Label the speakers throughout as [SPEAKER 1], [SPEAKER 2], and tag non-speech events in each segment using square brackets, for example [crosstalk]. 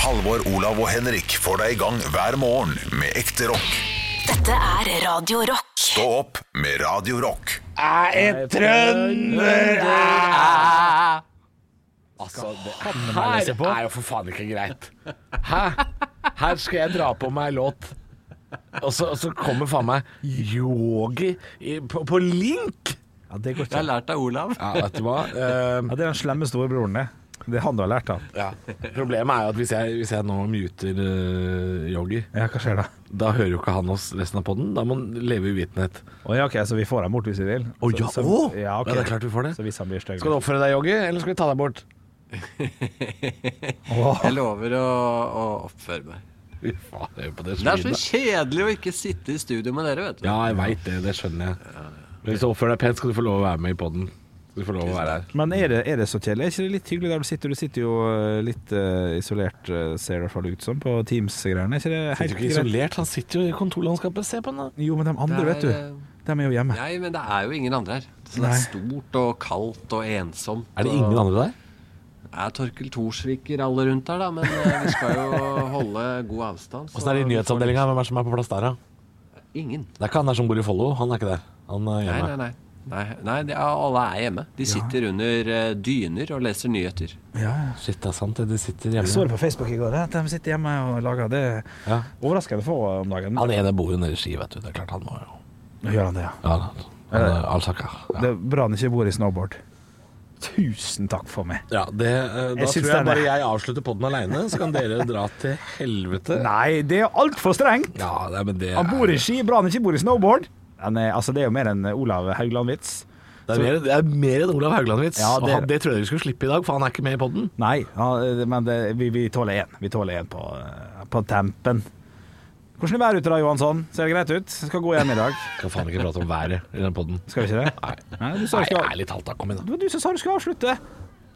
[SPEAKER 1] Halvor, Olav og Henrik får deg i gang hver morgen med ekte rock.
[SPEAKER 2] Dette er Radio Rock.
[SPEAKER 1] Stå opp med Radio Rock.
[SPEAKER 3] er en Eh, trønder Altså, det her er jo for faen ikke greit. Hæ? Her skal jeg dra på meg låt. Og så, og så kommer faen meg yogi i, på, på link!
[SPEAKER 4] Ja, det går
[SPEAKER 5] Jeg
[SPEAKER 4] ikke.
[SPEAKER 5] har lært av Olav.
[SPEAKER 3] Ja, vet du hva? Eh,
[SPEAKER 4] Ja, det er den slemme storebroren, det. Det er han du har lært av.
[SPEAKER 3] ja. Problemet er jo at hvis jeg, hvis jeg nå muter eh, yogi,
[SPEAKER 4] Ja, hva skjer da?
[SPEAKER 3] da hører jo ikke han oss resten av poden. Da må han leve i uvitenhet.
[SPEAKER 4] Å ja, ok, så vi får dem bort hvis vi vil.
[SPEAKER 3] Å,
[SPEAKER 4] Så-
[SPEAKER 3] ja,
[SPEAKER 4] så-
[SPEAKER 3] å!
[SPEAKER 4] ja, ok.
[SPEAKER 3] Ja, det er klart vi får det.
[SPEAKER 4] Så hvis han blir stygg.
[SPEAKER 3] Skal du oppføre deg, yogi, eller skal vi ta deg bort?
[SPEAKER 4] Åh,
[SPEAKER 5] Jeg lover å, å oppføre meg.
[SPEAKER 3] Fy faen, jeg hører på det
[SPEAKER 5] Det er
[SPEAKER 3] smilet.
[SPEAKER 5] så kjedelig å ikke sitte i studio med dere, vet du.
[SPEAKER 3] Ja, jeg veit det. Det skjønner jeg. Men hvis du oppfører deg pent, skal du få lov å være med i poden. Du får lov å være her.
[SPEAKER 4] Men er det, er det så kjedelig? Er ikke det litt hyggelig der du sitter? Du sitter jo eh, litt eh, isolert, eh, ser det i hvert fall ut som, på Teams-greiene. Er ikke det
[SPEAKER 3] Sitter
[SPEAKER 4] helt
[SPEAKER 3] jo ikke
[SPEAKER 4] greit?
[SPEAKER 3] isolert, han sitter jo i kontorlandskapet. Se på han, da.
[SPEAKER 4] Jo, men de
[SPEAKER 5] Det
[SPEAKER 4] andre,
[SPEAKER 5] er,
[SPEAKER 4] vet du.
[SPEAKER 5] eh,
[SPEAKER 4] De er jo hjemme.
[SPEAKER 5] Nei, men det er jo ingen andre her. Så det
[SPEAKER 4] Nei.
[SPEAKER 5] er stort og kaldt og ensomt.
[SPEAKER 3] Er det ingen
[SPEAKER 5] og-
[SPEAKER 3] andre der?
[SPEAKER 5] er Torkel Thorsviker alle rundt her, da, men eh, vi skal
[SPEAKER 3] [laughs]
[SPEAKER 5] jo holde god avstand.
[SPEAKER 3] Åssen er det i nyhetsavdelinga? Hvem er det som er på plass der, da?
[SPEAKER 5] Ingen.
[SPEAKER 3] Det er ikke han der som bor i Follo. Han er ikke der. Han er
[SPEAKER 5] Nei,
[SPEAKER 3] hjemme.
[SPEAKER 5] nei, nei. Nei, nei de, ja, alle er hjemme. De sitter under eh, dyner og leser nyheter.
[SPEAKER 3] Shit, det er sant. det. De sitter hjemme.
[SPEAKER 4] Jeg så det på Facebook i går, at de sitter hjemme og lager det.
[SPEAKER 3] Ja.
[SPEAKER 4] Overraskende få om dagen.
[SPEAKER 3] Han ene bor jo nede i Ski, vet du. Det er klart han må jo
[SPEAKER 4] Nå gjør han det, ja.
[SPEAKER 3] Ja, han han er Alsaker.
[SPEAKER 4] Det
[SPEAKER 3] Ja.
[SPEAKER 4] er bra han ikke bor i snowboard. Tusen takk for meg.
[SPEAKER 3] Ja, det, eh, da
[SPEAKER 4] Jeg
[SPEAKER 3] tror
[SPEAKER 4] syns det er
[SPEAKER 3] jeg bare
[SPEAKER 4] det.
[SPEAKER 3] jeg avslutter poden aleine, så kan dere dra til helvete.
[SPEAKER 4] Nei, det er jo altfor strengt!
[SPEAKER 3] Ja, nei, men det
[SPEAKER 4] Han bor
[SPEAKER 3] er-
[SPEAKER 4] i ski, bra han ikke bor i snowboard. Men, eh, altså, det er jo mer enn Olav Haugland-vits.
[SPEAKER 3] Det er mer, det er mer enn Olav Haugland-vits.
[SPEAKER 4] Ja,
[SPEAKER 3] Og
[SPEAKER 4] det-
[SPEAKER 3] han- det tror jeg dere skulle slippe i dag, for han er ikke med i poden.
[SPEAKER 4] Nei, ja, eh, men det, vi, vi tåler én. Vi tåler én på, eh, på tempen. Hvordan er været ute da, Johansson? Ser det greit ut? Skal gå hjem i dag.
[SPEAKER 3] Kan faen ikke prate om været i den poden.
[SPEAKER 4] Skal vi ikke det?
[SPEAKER 3] Nei.
[SPEAKER 4] Nei, du sa
[SPEAKER 3] Nei,
[SPEAKER 4] du skulle-
[SPEAKER 3] ærlig talt, da. Kom igjen,
[SPEAKER 4] Det var du som sa du skulle avslutte.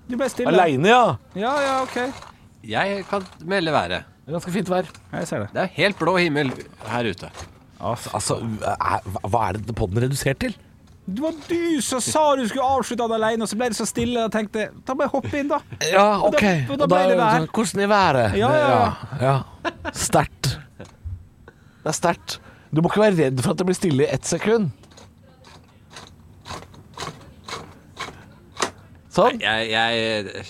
[SPEAKER 4] Du ble
[SPEAKER 3] da.
[SPEAKER 4] stille.
[SPEAKER 3] Aleine, ja.
[SPEAKER 4] Ja, ja, OK.
[SPEAKER 5] Jeg kan melde været.
[SPEAKER 3] Det er Ganske fint vær.
[SPEAKER 4] Jeg ser det.
[SPEAKER 5] Det er helt blå himmel her ute.
[SPEAKER 3] Altså, er, hva- hva er det podden er redusert til?
[SPEAKER 4] Det var du som sa du skulle avslutte den alene, og så ble det så stille. Og jeg tenkte, da må jeg hoppe
[SPEAKER 3] [laughs]
[SPEAKER 4] inn, da.
[SPEAKER 3] Ja,
[SPEAKER 4] ok. Og da- og da ble det vær.
[SPEAKER 3] så- Hvordan er været?
[SPEAKER 4] Ja, ja,
[SPEAKER 3] ja. ja. Sterkt. Det er sterkt. Du må ikke være redd for at det blir stille i ett sekund. Sånn.
[SPEAKER 5] Jeg, jeg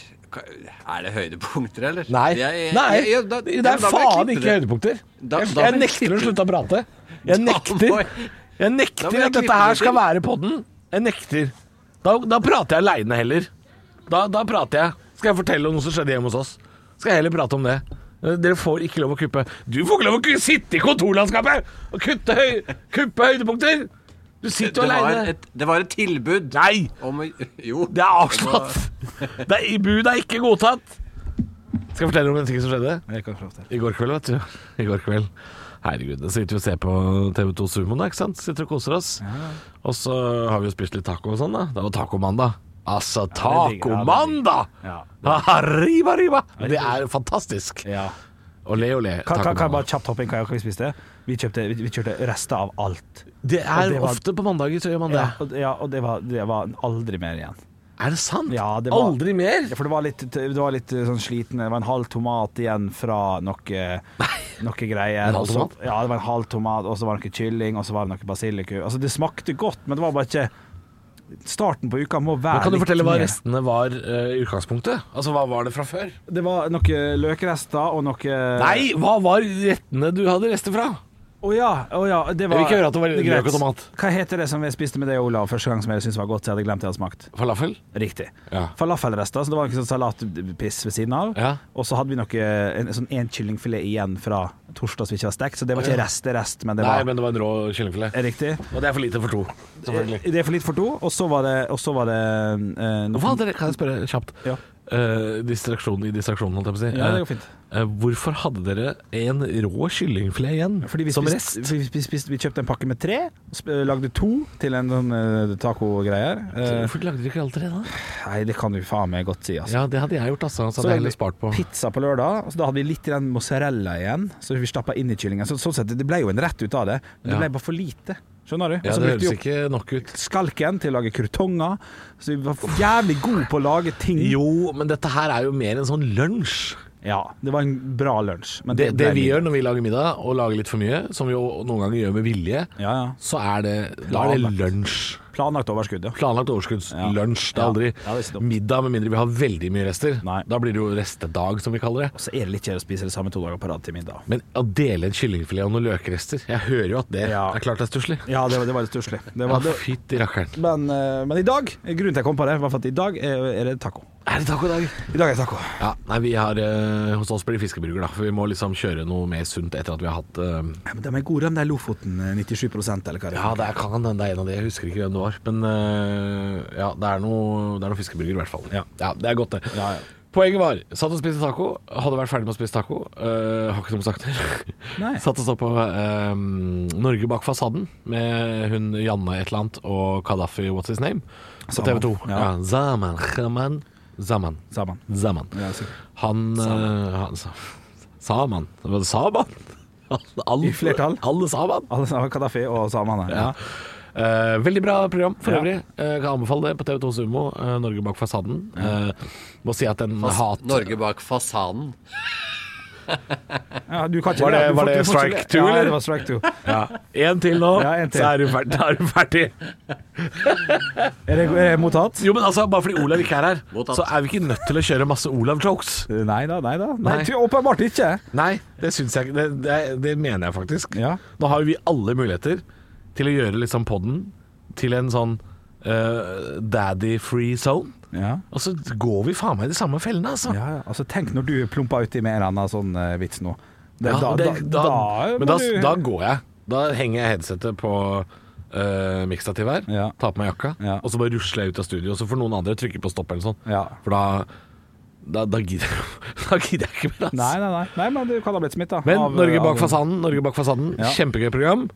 [SPEAKER 5] Er det høydepunkter, eller?
[SPEAKER 3] Nei.
[SPEAKER 5] Jeg-
[SPEAKER 3] Nei.
[SPEAKER 5] jeg- ja, da-
[SPEAKER 3] det
[SPEAKER 5] ja,
[SPEAKER 3] er
[SPEAKER 5] da må jeg
[SPEAKER 3] faen
[SPEAKER 5] klippe
[SPEAKER 3] ikke
[SPEAKER 5] det.
[SPEAKER 3] høydepunkter.
[SPEAKER 5] Da-
[SPEAKER 3] jeg
[SPEAKER 5] da må
[SPEAKER 3] jeg
[SPEAKER 5] jeg
[SPEAKER 3] nekter å slutte å prate. Jeg
[SPEAKER 5] må
[SPEAKER 3] nekter,
[SPEAKER 5] jeg-
[SPEAKER 3] jeg
[SPEAKER 5] Da må
[SPEAKER 3] nekter
[SPEAKER 5] jeg
[SPEAKER 3] at dette
[SPEAKER 5] klippe
[SPEAKER 3] her
[SPEAKER 5] det
[SPEAKER 3] skal
[SPEAKER 5] til.
[SPEAKER 3] være podden. Jeg nekter. Da, da prater jeg aleine heller. Da, da prater jeg. Skal jeg fortelle om noe som skjedde hjemme hos oss? Skal jeg heller prate om det? Eh, Dere får ikke lov å kuppe. Du får ikke lov å ku- sitte i kontorlandskapet og kutte høy, kuppe høydepunkter! Du sitter
[SPEAKER 5] Det
[SPEAKER 3] jo
[SPEAKER 5] var,
[SPEAKER 3] aleine.
[SPEAKER 5] et, det var et tilbud
[SPEAKER 3] Nei!
[SPEAKER 5] om å- Jo.
[SPEAKER 3] Det er avslått. Det er, budet er ikke godtatt. Skal jeg fortelle om en ting som skjedde?
[SPEAKER 4] Jeg kan prøve til.
[SPEAKER 3] I går kveld, vet du. I går kveld. Herregud, da sitter vi og ser på TV2 Sumo, da, ikke sant? Sitter og koser oss. Og så har vi jo spist litt taco og sånn, da. Det var tacomandag. Altså,
[SPEAKER 4] det digger jeg, det
[SPEAKER 3] tacomandag!
[SPEAKER 4] Ja.
[SPEAKER 3] Arriba, riba! Det er fantastisk.
[SPEAKER 4] Ja.
[SPEAKER 3] Olé, olé.
[SPEAKER 4] Kan, kan, kan jeg
[SPEAKER 3] tacomandag.
[SPEAKER 4] bare kjapt hoppe inn hva vi spiste? Vi, kjøpte, vi, vi kjørte rester av alt.
[SPEAKER 3] Det
[SPEAKER 4] Og
[SPEAKER 3] er
[SPEAKER 4] det var-
[SPEAKER 3] ofte på mandager, så gjør man det.
[SPEAKER 4] Ja, og, ja, og det, var, det var aldri mer igjen.
[SPEAKER 3] Er det sant?
[SPEAKER 4] Ja, det var-
[SPEAKER 3] Aldri mer?
[SPEAKER 4] Ja, For det var litt, det var litt sånn sliten Det var en halv tomat igjen fra noe, noe greier.
[SPEAKER 3] En halv
[SPEAKER 4] og så-
[SPEAKER 3] tomat?
[SPEAKER 4] Ja, det var en halv tomat, og så var det noe kylling, og så var det noe basilikum. Altså, det smakte godt, men det var bare ikke Starten på uka må være
[SPEAKER 3] Men kan du
[SPEAKER 4] litt
[SPEAKER 3] fortelle hva
[SPEAKER 4] mer.
[SPEAKER 3] restene var eh, i utgangspunktet? Altså, hva var det fra før?
[SPEAKER 4] Det var noe løkrester og noe
[SPEAKER 3] Nei, hva var rettene du hadde rester fra?
[SPEAKER 4] Å ja, å ja, det var
[SPEAKER 3] Jeg vil ikke høre at det var
[SPEAKER 4] greit.
[SPEAKER 3] løk og tomat.
[SPEAKER 4] Hva heter det som vi spiste med deg, Olav, første gang som jeg syntes var godt, så jeg hadde glemt det hadde smakt?
[SPEAKER 3] Falafel?
[SPEAKER 4] Riktig.
[SPEAKER 3] Ja.
[SPEAKER 4] Falafelrester, så det var noe sånn salatpiss ved siden av.
[SPEAKER 3] Ja.
[SPEAKER 4] Og så hadde vi noe, en sånn en kyllingfilet igjen fra torsdag som ikke var stekt, så det var ikke rest, det er rest, men det
[SPEAKER 3] Nei,
[SPEAKER 4] var
[SPEAKER 3] men det var en rå kyllingfilet.
[SPEAKER 4] riktig. Eh,
[SPEAKER 3] Og det er for lite for to, selvfølgelig.
[SPEAKER 4] Det er for litt for to, og så var det, og så var det eh, noe-
[SPEAKER 3] Hva hadde dere, kan jeg spørre kjapt?
[SPEAKER 4] Ja.
[SPEAKER 3] Eh, distraksjon i distraksjonen, holdt jeg på å si.
[SPEAKER 4] Ja, det går fint.
[SPEAKER 3] Eh, eh, hvorfor hadde dere en rå kyllingfilet igjen
[SPEAKER 4] Fordi vi,
[SPEAKER 3] som
[SPEAKER 4] spiste,
[SPEAKER 3] rest?
[SPEAKER 4] vi, vi, spiste, vi kjøpte en pakke med tre, sp- lagde to til en sånn eh, taco-greier. Eh,
[SPEAKER 3] Hvorfor lagde dere ikke alt tre da?
[SPEAKER 4] nei, det kan du faen meg godt si, altså.
[SPEAKER 3] Ja, det hadde jeg gjort, altså. Så
[SPEAKER 4] Så
[SPEAKER 3] hadde jeg
[SPEAKER 4] lagde
[SPEAKER 3] heller
[SPEAKER 4] vi
[SPEAKER 3] spart på.
[SPEAKER 4] pizza på lørdag, og så da hadde vi litt grann mozzarella igjen, så vi stappa inn i kyllingen. Så, sånn sett, det ble jo en rett ut av det, men det
[SPEAKER 3] Ja.
[SPEAKER 4] ble bare for lite. Skjønner du? Og
[SPEAKER 3] Ja,
[SPEAKER 4] så
[SPEAKER 3] det
[SPEAKER 4] brukte vi
[SPEAKER 3] høres
[SPEAKER 4] opp
[SPEAKER 3] ikke nok ut.
[SPEAKER 4] skalken til å lage krutonger, så vi var jævlig gode på å lage ting.
[SPEAKER 3] Jo, men dette her er jo mer en sånn lunsj.
[SPEAKER 4] Ja, det var en bra lunsj. Men
[SPEAKER 3] Det, det
[SPEAKER 4] ble
[SPEAKER 3] vi
[SPEAKER 4] middag.
[SPEAKER 3] gjør når vi lager middag, og lager litt for mye, som vi jo noen ganger gjør med vilje,
[SPEAKER 4] Ja, ja.
[SPEAKER 3] så er det, da er det lunsj.
[SPEAKER 4] Planlagt overskudd, ja.
[SPEAKER 3] Planlagt overskuddslunsj. Det
[SPEAKER 4] Ja.
[SPEAKER 3] er aldri
[SPEAKER 4] Ja, det er ikke dumt.
[SPEAKER 3] middag, med mindre vi har veldig mye rester.
[SPEAKER 4] Nei.
[SPEAKER 3] Da blir det jo restedag, som vi kaller det.
[SPEAKER 4] Så er det litt kjedelig å spise det samme to dager på rad til middag.
[SPEAKER 3] Men å dele en kyllingfilet og noen løkrester Jeg hører jo at det
[SPEAKER 4] Ja.
[SPEAKER 3] er klart det er stusslig.
[SPEAKER 4] Ja, det var, det var litt stusslig. Det
[SPEAKER 3] Ja,
[SPEAKER 4] var- det-
[SPEAKER 3] Fytti rakkeren.
[SPEAKER 4] Men, eh, men i dag, grunnen til jeg kom på det, var for at i dag er, er det taco.
[SPEAKER 3] Er det tacodag?
[SPEAKER 4] I dag er det taco.
[SPEAKER 3] Ja, nei, vi har eh, Hos oss blir det fiskeburger, da. For vi må liksom kjøre noe mer sunt etter at vi har hatt eh,
[SPEAKER 4] Ja, men de er gode, de der Lofoten. eh, 97 eller hva det er.
[SPEAKER 3] Ja, det er, kan hende det er en av de. Jeg husker ikke hvem det var. Men øh, ja, det er noe, det er noe fiskeburger i hvert fall.
[SPEAKER 4] Ja.
[SPEAKER 3] Det er godt, det.
[SPEAKER 4] Ja, ja.
[SPEAKER 3] Poenget var satt og spiste taco. Hadde vært ferdig med å spise taco. øh, har ikke noe sagt der.
[SPEAKER 4] Nei.
[SPEAKER 3] [laughs] Satt og så på øh, Norge bak fasaden med hun Janne et eller annet og Kadafi What's His Name på
[SPEAKER 4] Zaman.
[SPEAKER 3] TV 2.
[SPEAKER 4] Ja.
[SPEAKER 3] Ja. Zaman. Zaman. Zaman.
[SPEAKER 4] Sammen.
[SPEAKER 3] Zaman.
[SPEAKER 4] Ja, sikkert.
[SPEAKER 3] Han, øh, han sa, Saman. Det var Saman. [laughs] Alle,
[SPEAKER 4] I flertall.
[SPEAKER 3] Alle Saman.
[SPEAKER 4] Alle sammen Kadafi og samene.
[SPEAKER 3] Ja. Eh, veldig bra program for
[SPEAKER 4] Ja.
[SPEAKER 3] øvrig. Eh, kan anbefale det på TV2 Sumo. eh, 'Norge bak fasaden'. Eh, må si at en hat
[SPEAKER 5] Norge bak fasaden.
[SPEAKER 4] Ja, du kan ikke
[SPEAKER 3] Var det-
[SPEAKER 4] du får
[SPEAKER 3] var
[SPEAKER 4] ikke-
[SPEAKER 3] det
[SPEAKER 4] du får ikke
[SPEAKER 3] strike
[SPEAKER 4] le-
[SPEAKER 3] two,
[SPEAKER 4] Ja,
[SPEAKER 3] eller?
[SPEAKER 4] det var strike two.
[SPEAKER 3] Ja. En til nå,
[SPEAKER 4] Ja, en til.
[SPEAKER 3] så er du ferdig. Da er du ferdig.
[SPEAKER 4] Er det, er det mottatt?
[SPEAKER 3] Jo, men altså, bare fordi Olav ikke er her,
[SPEAKER 5] Mottatt.
[SPEAKER 3] så er vi ikke nødt til å kjøre masse Olav-jokes.
[SPEAKER 4] Nei da, nei da. Nei,
[SPEAKER 3] Nei.
[SPEAKER 4] ty- Åpenbart ikke.
[SPEAKER 3] Nei, det syns jeg ikke. Det, det, det mener jeg faktisk.
[SPEAKER 4] Ja.
[SPEAKER 3] Nå har jo vi alle muligheter til å gjøre liksom podden til en sånn eh, daddy-free zone.
[SPEAKER 4] Ja.
[SPEAKER 3] Og så går vi faen meg i de samme fellene, altså.
[SPEAKER 4] Ja, ja. altså Tenk når du plumper uti med en eller annen sånn eh, vits nå. Det,
[SPEAKER 3] Ja,
[SPEAKER 4] da,
[SPEAKER 3] og det-
[SPEAKER 4] da, da,
[SPEAKER 3] men
[SPEAKER 4] må
[SPEAKER 3] da,
[SPEAKER 4] du-
[SPEAKER 3] da går jeg. Da henger jeg headsetet på uh, mikstativet her,
[SPEAKER 4] Ja.
[SPEAKER 3] tar på meg jakka,
[SPEAKER 4] Ja.
[SPEAKER 3] og så bare rusler jeg ut av studio. Og så får noen andre trykke på stopp eller sånn.
[SPEAKER 4] Ja.
[SPEAKER 3] For da, da, da, gidder, jeg- da gidder jeg ikke [laughs] mer, altså.
[SPEAKER 4] Nei, nei, nei. nei, men du kan ha blitt eh, smitta.
[SPEAKER 3] Men Norge bak fasaden, Norge bak fasaden.
[SPEAKER 4] Ja.
[SPEAKER 3] Kjempegøy program.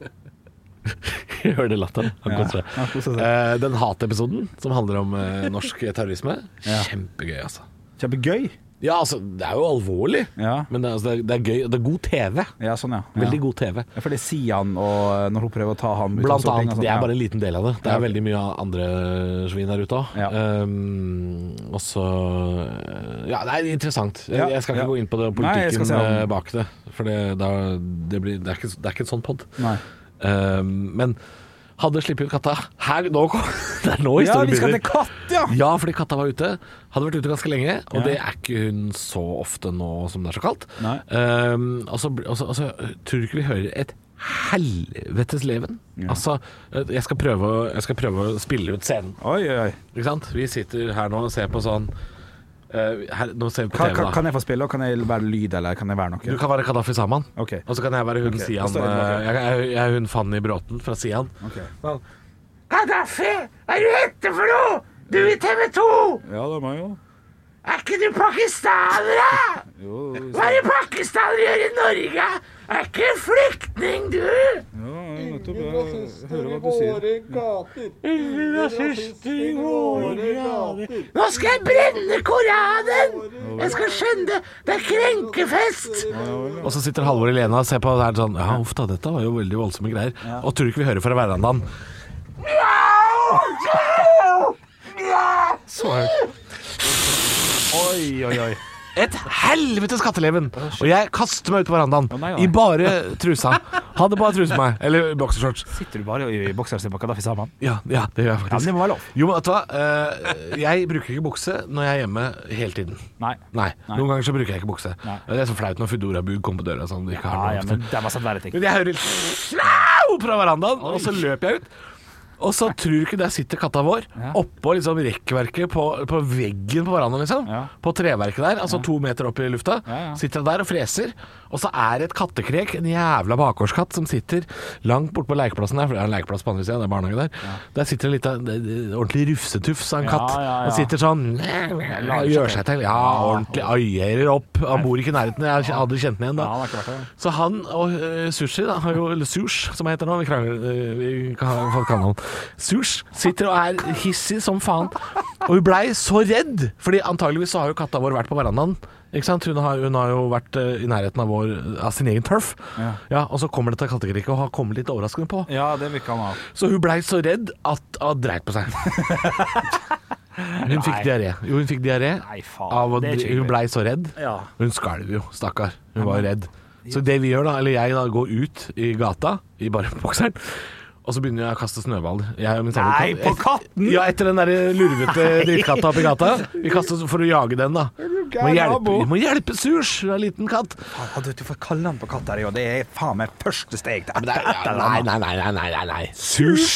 [SPEAKER 3] [laughs] Hør det latteren. Han
[SPEAKER 4] Ja,
[SPEAKER 3] koser
[SPEAKER 4] han koser
[SPEAKER 3] seg.
[SPEAKER 4] seg.
[SPEAKER 3] Eh, den hatepisoden som handler om eh, norsk terrorisme. Kjempegøy, altså.
[SPEAKER 4] Kjempegøy.
[SPEAKER 3] Ja, altså, det er jo alvorlig,
[SPEAKER 4] Ja.
[SPEAKER 3] men det er, altså, det er, det er gøy. og Det er god TV.
[SPEAKER 4] Ja, sånn, ja. ja.
[SPEAKER 3] Veldig god TV.
[SPEAKER 4] Ja, for det sier han, og eh, når hun prøver å ta ham ut av
[SPEAKER 3] Blant
[SPEAKER 4] Stortinget
[SPEAKER 3] annet.
[SPEAKER 4] og sånt,
[SPEAKER 3] Det er
[SPEAKER 4] ja.
[SPEAKER 3] bare en liten del av det. Det
[SPEAKER 4] Ja.
[SPEAKER 3] er veldig mye andre svin her ute òg.
[SPEAKER 4] Ja.
[SPEAKER 3] og så eh, Ja, det er interessant. Jeg,
[SPEAKER 4] Ja,
[SPEAKER 3] jeg skal ikke
[SPEAKER 4] ja.
[SPEAKER 3] gå inn på det,
[SPEAKER 4] Nei, jeg
[SPEAKER 3] politikken
[SPEAKER 4] skal se om-
[SPEAKER 3] eh, bak det. For det, da, det, blir, det, er ikke, det er ikke en sånn pod.
[SPEAKER 4] Nei.
[SPEAKER 3] men hadde sluppet ut katta her Nå kom [laughs] Det er nå
[SPEAKER 4] Ja,
[SPEAKER 3] historien
[SPEAKER 4] vi skal til
[SPEAKER 3] begynner.
[SPEAKER 4] katt, ja!
[SPEAKER 3] Ja, fordi katta var ute. Hadde vært ute ganske lenge, og
[SPEAKER 4] Ja.
[SPEAKER 3] det er ikke hun så ofte nå som det er så kaldt.
[SPEAKER 4] Nei.
[SPEAKER 3] Ehm, og så blir- og så- og så tror du ikke vi hører et helvetes leven? Altså, jeg skal, prøve, å- jeg skal prøve å spille ut scenen.
[SPEAKER 4] Oi, oi, oi.
[SPEAKER 3] Ikke sant? Vi sitter her nå og ser på sånn eh, her, Nå ser vi på
[SPEAKER 4] Kan,
[SPEAKER 3] TV,
[SPEAKER 4] kan,
[SPEAKER 3] da.
[SPEAKER 4] kan jeg få spille, og kan jeg være lyd, eller kan jeg være noe?
[SPEAKER 3] Du kan være Kadafi Saman,
[SPEAKER 4] Ok.
[SPEAKER 3] og så kan jeg være hun Sian
[SPEAKER 4] da står jeg
[SPEAKER 3] eh,
[SPEAKER 4] tilbake.
[SPEAKER 3] jeg, jeg, jeg er hun Fanny Bråten fra Sian.
[SPEAKER 4] Ok.
[SPEAKER 3] Kadafi, hva er du hette for noe?! Du i TV 2!
[SPEAKER 4] Ja, det er meg, jo.
[SPEAKER 3] Er ikke du pakistaner, da?!
[SPEAKER 4] Jo,
[SPEAKER 3] Hva er det pakistanere gjør i Norge? Er ikke flyktning, du?
[SPEAKER 4] ja, nettopp. Jeg hører hva du sier.
[SPEAKER 3] Nå skal jeg brenne Koranen! Jeg skal skjønne det! Det er krenkefest! Og så sitter Halvor og Lena og ser på det her sånn Ja, uff da, dette var jo veldig voldsomme greier. Og tror du ikke vi hører fra verandaen Så høyt.
[SPEAKER 4] Oi, oi, oi.
[SPEAKER 3] Et helvetes katteleven! Og jeg kaster meg ut på verandaen
[SPEAKER 4] nei, nei.
[SPEAKER 3] i bare trusa. Hadde bare truse på meg. Eller boksershorts.
[SPEAKER 4] Sitter du bare i i bokser og ser på Kadafi sammen?
[SPEAKER 3] Ja, ja, det gjør jeg
[SPEAKER 4] Ja, men
[SPEAKER 3] faktisk.
[SPEAKER 4] det må være lov.
[SPEAKER 3] Jo, men vet du hva? Eh, jeg bruker ikke bukse når jeg er hjemme hele tiden.
[SPEAKER 4] Nei.
[SPEAKER 3] Nei. Noen ganger så bruker jeg ikke bukse.
[SPEAKER 4] Nei.
[SPEAKER 3] Det er så flaut når Foodora-bud kommer på døra sånn. de Ikke
[SPEAKER 4] Ja,
[SPEAKER 3] har
[SPEAKER 4] ja,
[SPEAKER 3] noe
[SPEAKER 4] men
[SPEAKER 3] men...
[SPEAKER 4] de har sett verre ting.
[SPEAKER 3] men jeg hører Au! fra verandaen, og så løper jeg ut. Og så tror du ikke der sitter katta vår oppå liksom rekkverket på, på veggen på verandaen, liksom.
[SPEAKER 4] Ja.
[SPEAKER 3] På treverket der, altså to meter opp i lufta.
[SPEAKER 4] Ja, ja.
[SPEAKER 3] Sitter han der og freser. Og så er det et kattekrek, en jævla bakgårdskatt, som sitter langt borte på lekeplassen der, for det er en lekeplass på andre siden, det er barnehage der. Der sitter en liten det- det- ordentlig rufsetufs av en
[SPEAKER 4] Ja,
[SPEAKER 3] katt.
[SPEAKER 4] ja, ja.
[SPEAKER 3] Han sitter sånn Gjør seg til. Ja, ordentlig. Aierer opp. Han bor ikke i nærheten. Jeg hadde kjent den igjen da.
[SPEAKER 4] Ja, han har ikke vært der.
[SPEAKER 3] Så han og eh, Sushi, da, har jo, eller Sush, som jeg heter nå, vi krangler eh, Vi har fått kallenavn. Sush sitter og er hissig som faen. Og hun blei så redd, Fordi antageligvis så har jo katta vår vært på verandaen. Ikke sant? Hun har, hun har jo vært eh, i nærheten av, vår, av sin egen turf. Ja. og så kommer dette kattekriket og har kommet litt overraskende på.
[SPEAKER 4] Ja, det vil ikke han ha. [laughs]
[SPEAKER 3] Så hun blei så redd at hun dreit på seg. Hun fikk
[SPEAKER 4] Nei.
[SPEAKER 3] diaré. Jo, hun fikk diaré.
[SPEAKER 4] Nei, faen,
[SPEAKER 3] Av å,
[SPEAKER 4] det er ikke
[SPEAKER 3] hun blei så redd.
[SPEAKER 4] Ja.
[SPEAKER 3] Hun skalv jo, stakkar. Hun var jo redd. Så det vi gjør, da, eller jeg da, går ut i gata i bare [laughs] bokseren, og så begynner jeg å kaste snøballer. Jeg og min samboer
[SPEAKER 4] Nei,
[SPEAKER 3] kan-
[SPEAKER 4] på katten!
[SPEAKER 3] Ja, etter den der lurvete drittkatta oppi gata. Vi kaster for å jage den, da. Må
[SPEAKER 4] gæren
[SPEAKER 3] hjelpe,
[SPEAKER 4] nabo?
[SPEAKER 3] vi må hjelpe Surs, en liten katt.
[SPEAKER 4] Faen, du, du får kalle han på katt her, jo. Det er faen meg første steg til etter, etter
[SPEAKER 3] Nei, nei, nei, nei, nei, nei, nei. Surs?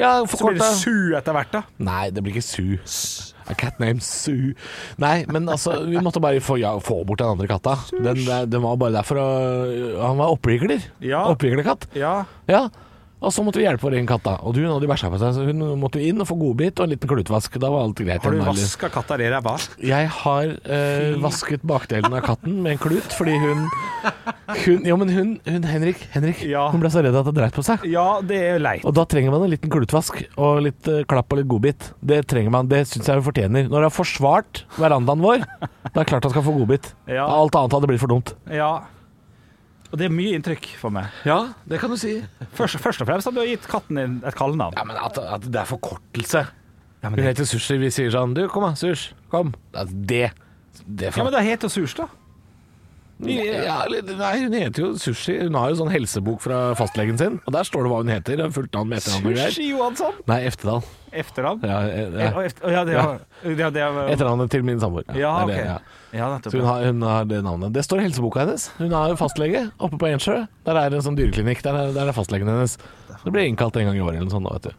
[SPEAKER 3] Ja,
[SPEAKER 4] Så blir det
[SPEAKER 3] forkorta.
[SPEAKER 4] su etter hvert, da.
[SPEAKER 3] Nei, det blir ikke Sue. A cat named Sue. Nei, men altså, vi måtte bare få, ja, få bort den andre katta. Den, den var bare der for å Han var oppvigler.
[SPEAKER 4] Ja.
[SPEAKER 3] Oppviglekatt.
[SPEAKER 4] Ja.
[SPEAKER 3] Ja. Og så måtte vi hjelpe vår egen katt, da. Og hun hadde bæsja på seg, så hun måtte jo inn og få godbit og en liten klutvask. Da var alt greit.
[SPEAKER 4] Har du
[SPEAKER 3] igjen, eller-
[SPEAKER 4] vaska katta di i ræva?
[SPEAKER 3] jeg har eh, vasket bakdelen av katten med en klut, fordi hun, hun Jo, men hun, hun Henrik, Henrik
[SPEAKER 4] Ja.
[SPEAKER 3] hun ble så redd at det dreit på seg.
[SPEAKER 4] Ja, det er jo leit.
[SPEAKER 3] Og da trenger man en liten klutvask og litt eh, klapp og litt godbit. Det trenger man, det syns jeg hun fortjener. Når hun har forsvart verandaen vår, da er det klart hun skal få godbit.
[SPEAKER 4] Ja.
[SPEAKER 3] Alt annet hadde blitt for dumt.
[SPEAKER 4] Ja. Og det er mye inntrykk for meg.
[SPEAKER 3] Ja, det kan du si.
[SPEAKER 4] Først, først og fremst har du gitt katten din et kallenavn.
[SPEAKER 3] Ja, men at, at det er forkortelse. Hun heter Sushi. Vi sier sånn Du, kom da, Sush. Kom. Altså, Det det er
[SPEAKER 4] Ja, men det heter jo Surs, da.
[SPEAKER 3] Ja, eller- nei, hun heter jo Sushi. Hun har jo sånn helsebok fra fastlegen sin, og der står det hva hun heter. Hun fulgte han med etternavn og greier.
[SPEAKER 4] Sushi Johansson.
[SPEAKER 3] Nei, Eftedal.
[SPEAKER 4] Efternavn.
[SPEAKER 3] Ja, eh,
[SPEAKER 4] Ja,
[SPEAKER 3] ja.
[SPEAKER 4] efter, ja, det var, ja, det var,
[SPEAKER 3] Etternavnet til min samboer.
[SPEAKER 4] ja,
[SPEAKER 3] det er det,
[SPEAKER 4] ok. Ja,
[SPEAKER 3] Så
[SPEAKER 4] nettopp.
[SPEAKER 3] hun har, hun har det navnet. Det står i helseboka hennes. Hun har jo fastlege oppe på Ensjø. Der er det en sånn dyreklinikk. Der er, der er fastlegen hennes. Det blir innkalt en gang i året eller noe sånt. da, Vet du.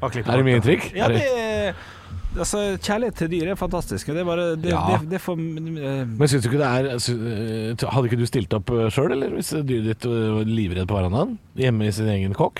[SPEAKER 4] Bare klipp
[SPEAKER 3] Er det mye
[SPEAKER 4] bort, da.
[SPEAKER 3] inntrykk?
[SPEAKER 4] Ja,
[SPEAKER 3] Er det-
[SPEAKER 4] det Altså, kjærlighet til dyr er fantastisk. og Det er bare Det,
[SPEAKER 3] Ja.
[SPEAKER 4] det, det får eh,
[SPEAKER 3] Men syns du ikke det er sy- eh, Hadde ikke du stilt opp sjøl, eller? Hvis dyret ditt eh, var livredd på verandaen? Hjemme i sin egen kåk?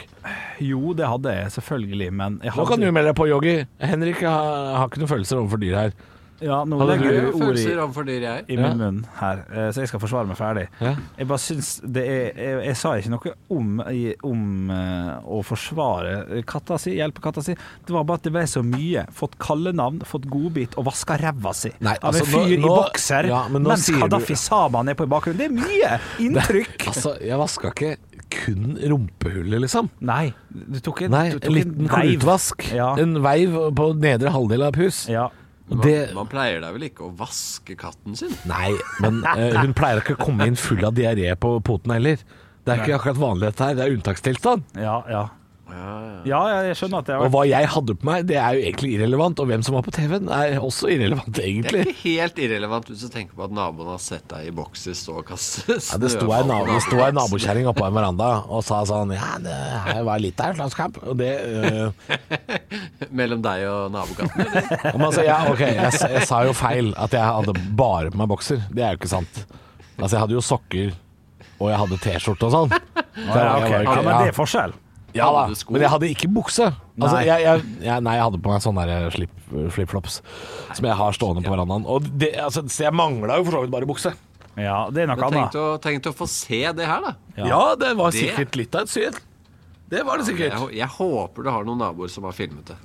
[SPEAKER 4] Jo, det hadde jeg, selvfølgelig, men jeg
[SPEAKER 3] Nå
[SPEAKER 4] hadde,
[SPEAKER 3] kan du melde deg på, Joggi. Henrik har, har ikke noen følelser overfor dyr her.
[SPEAKER 4] ja, Nå
[SPEAKER 3] Hadde
[SPEAKER 5] Jeg
[SPEAKER 4] legger
[SPEAKER 5] har
[SPEAKER 4] du ord i,
[SPEAKER 5] følelser overfor dyr, jeg.
[SPEAKER 4] i
[SPEAKER 3] Ja.
[SPEAKER 4] min munn her, eh, så jeg skal forsvare meg ferdig.
[SPEAKER 3] Ja.
[SPEAKER 4] Jeg bare syns det er Jeg, jeg sa ikke noe om, i- om eh, å forsvare katta si, hjelpe katta si. Det var bare at det ble så mye. Fått kallenavn, fått godbit og vaska ræva si
[SPEAKER 3] Nei,
[SPEAKER 4] av en
[SPEAKER 3] altså, nå-
[SPEAKER 4] fyr i
[SPEAKER 3] nå-
[SPEAKER 4] bokser
[SPEAKER 3] ja, men nå
[SPEAKER 4] mens
[SPEAKER 3] sier du-
[SPEAKER 4] Kadafi Saman er på i bakgrunnen. Det er
[SPEAKER 3] [laughs]
[SPEAKER 4] mye inntrykk!
[SPEAKER 3] Altså, jeg vaska ikke kun rumpehullet, liksom.
[SPEAKER 4] Nei, du tok en,
[SPEAKER 3] Nei,
[SPEAKER 4] du tok
[SPEAKER 3] en liten
[SPEAKER 4] veiv.
[SPEAKER 3] klutvask.
[SPEAKER 4] Ja.
[SPEAKER 3] En veiv på nedre halvdel av et hus.
[SPEAKER 4] Ja.
[SPEAKER 3] Og
[SPEAKER 5] Man,
[SPEAKER 3] Det,
[SPEAKER 5] man pleier da vel ikke å vaske katten sin?
[SPEAKER 3] nei, men eh, hun pleier ikke å komme inn full av diaré på poten heller. Det er ikke akkurat vanlig dette her, det er unntakstilstand.
[SPEAKER 4] Ja, ja. Ja, ja, jeg skjønner at det
[SPEAKER 3] Og
[SPEAKER 4] har vært
[SPEAKER 3] hva jeg hadde på meg, det er jo egentlig irrelevant. Og hvem som var på TV-en, er også irrelevant,
[SPEAKER 5] Det er
[SPEAKER 3] egentlig.
[SPEAKER 5] ikke helt irrelevant hvis du tenker på at naboen har sett deg i bokser stå og kaste
[SPEAKER 3] Ja, det sto ei
[SPEAKER 5] snøball.
[SPEAKER 3] nabo, det sto ei nabokjerring oppå en veranda og sa sånn Ja, det her var litt av en slåsskamp. Og det eh,
[SPEAKER 5] [laughs] Mellom deg og nabokatten. eller?
[SPEAKER 3] Ja, Men altså, ja, ok, jeg, s- jeg sa jo feil at jeg hadde bare på meg bokser. Det er jo ikke sant. Altså, jeg hadde jo sokker, og jeg hadde T-skjorte og sånn. Så jeg- jeg
[SPEAKER 4] ja, ok.
[SPEAKER 3] var jo
[SPEAKER 4] ja,
[SPEAKER 3] ikke-
[SPEAKER 4] men det
[SPEAKER 3] ja,
[SPEAKER 4] er forskjell.
[SPEAKER 3] ja da,
[SPEAKER 5] Hadde du sko?
[SPEAKER 3] men jeg hadde ikke bukse. Altså,
[SPEAKER 4] Nei.
[SPEAKER 3] jeg, jeg, jeg, nei, jeg hadde på meg sånne der slip- flipflops som jeg har stående på verandaen. Og det, altså, så jeg mangla jo for så vidt bare bukse.
[SPEAKER 4] Ja, det er noe
[SPEAKER 5] Men tenk
[SPEAKER 4] annet.
[SPEAKER 5] å, tenk til å få se det her, da.
[SPEAKER 3] Ja, det var
[SPEAKER 5] Det-
[SPEAKER 3] sikkert litt av et syn. Det var det
[SPEAKER 5] Jeg,
[SPEAKER 3] sikkert.
[SPEAKER 5] hå- jeg håper du har noen naboer som har filmet det.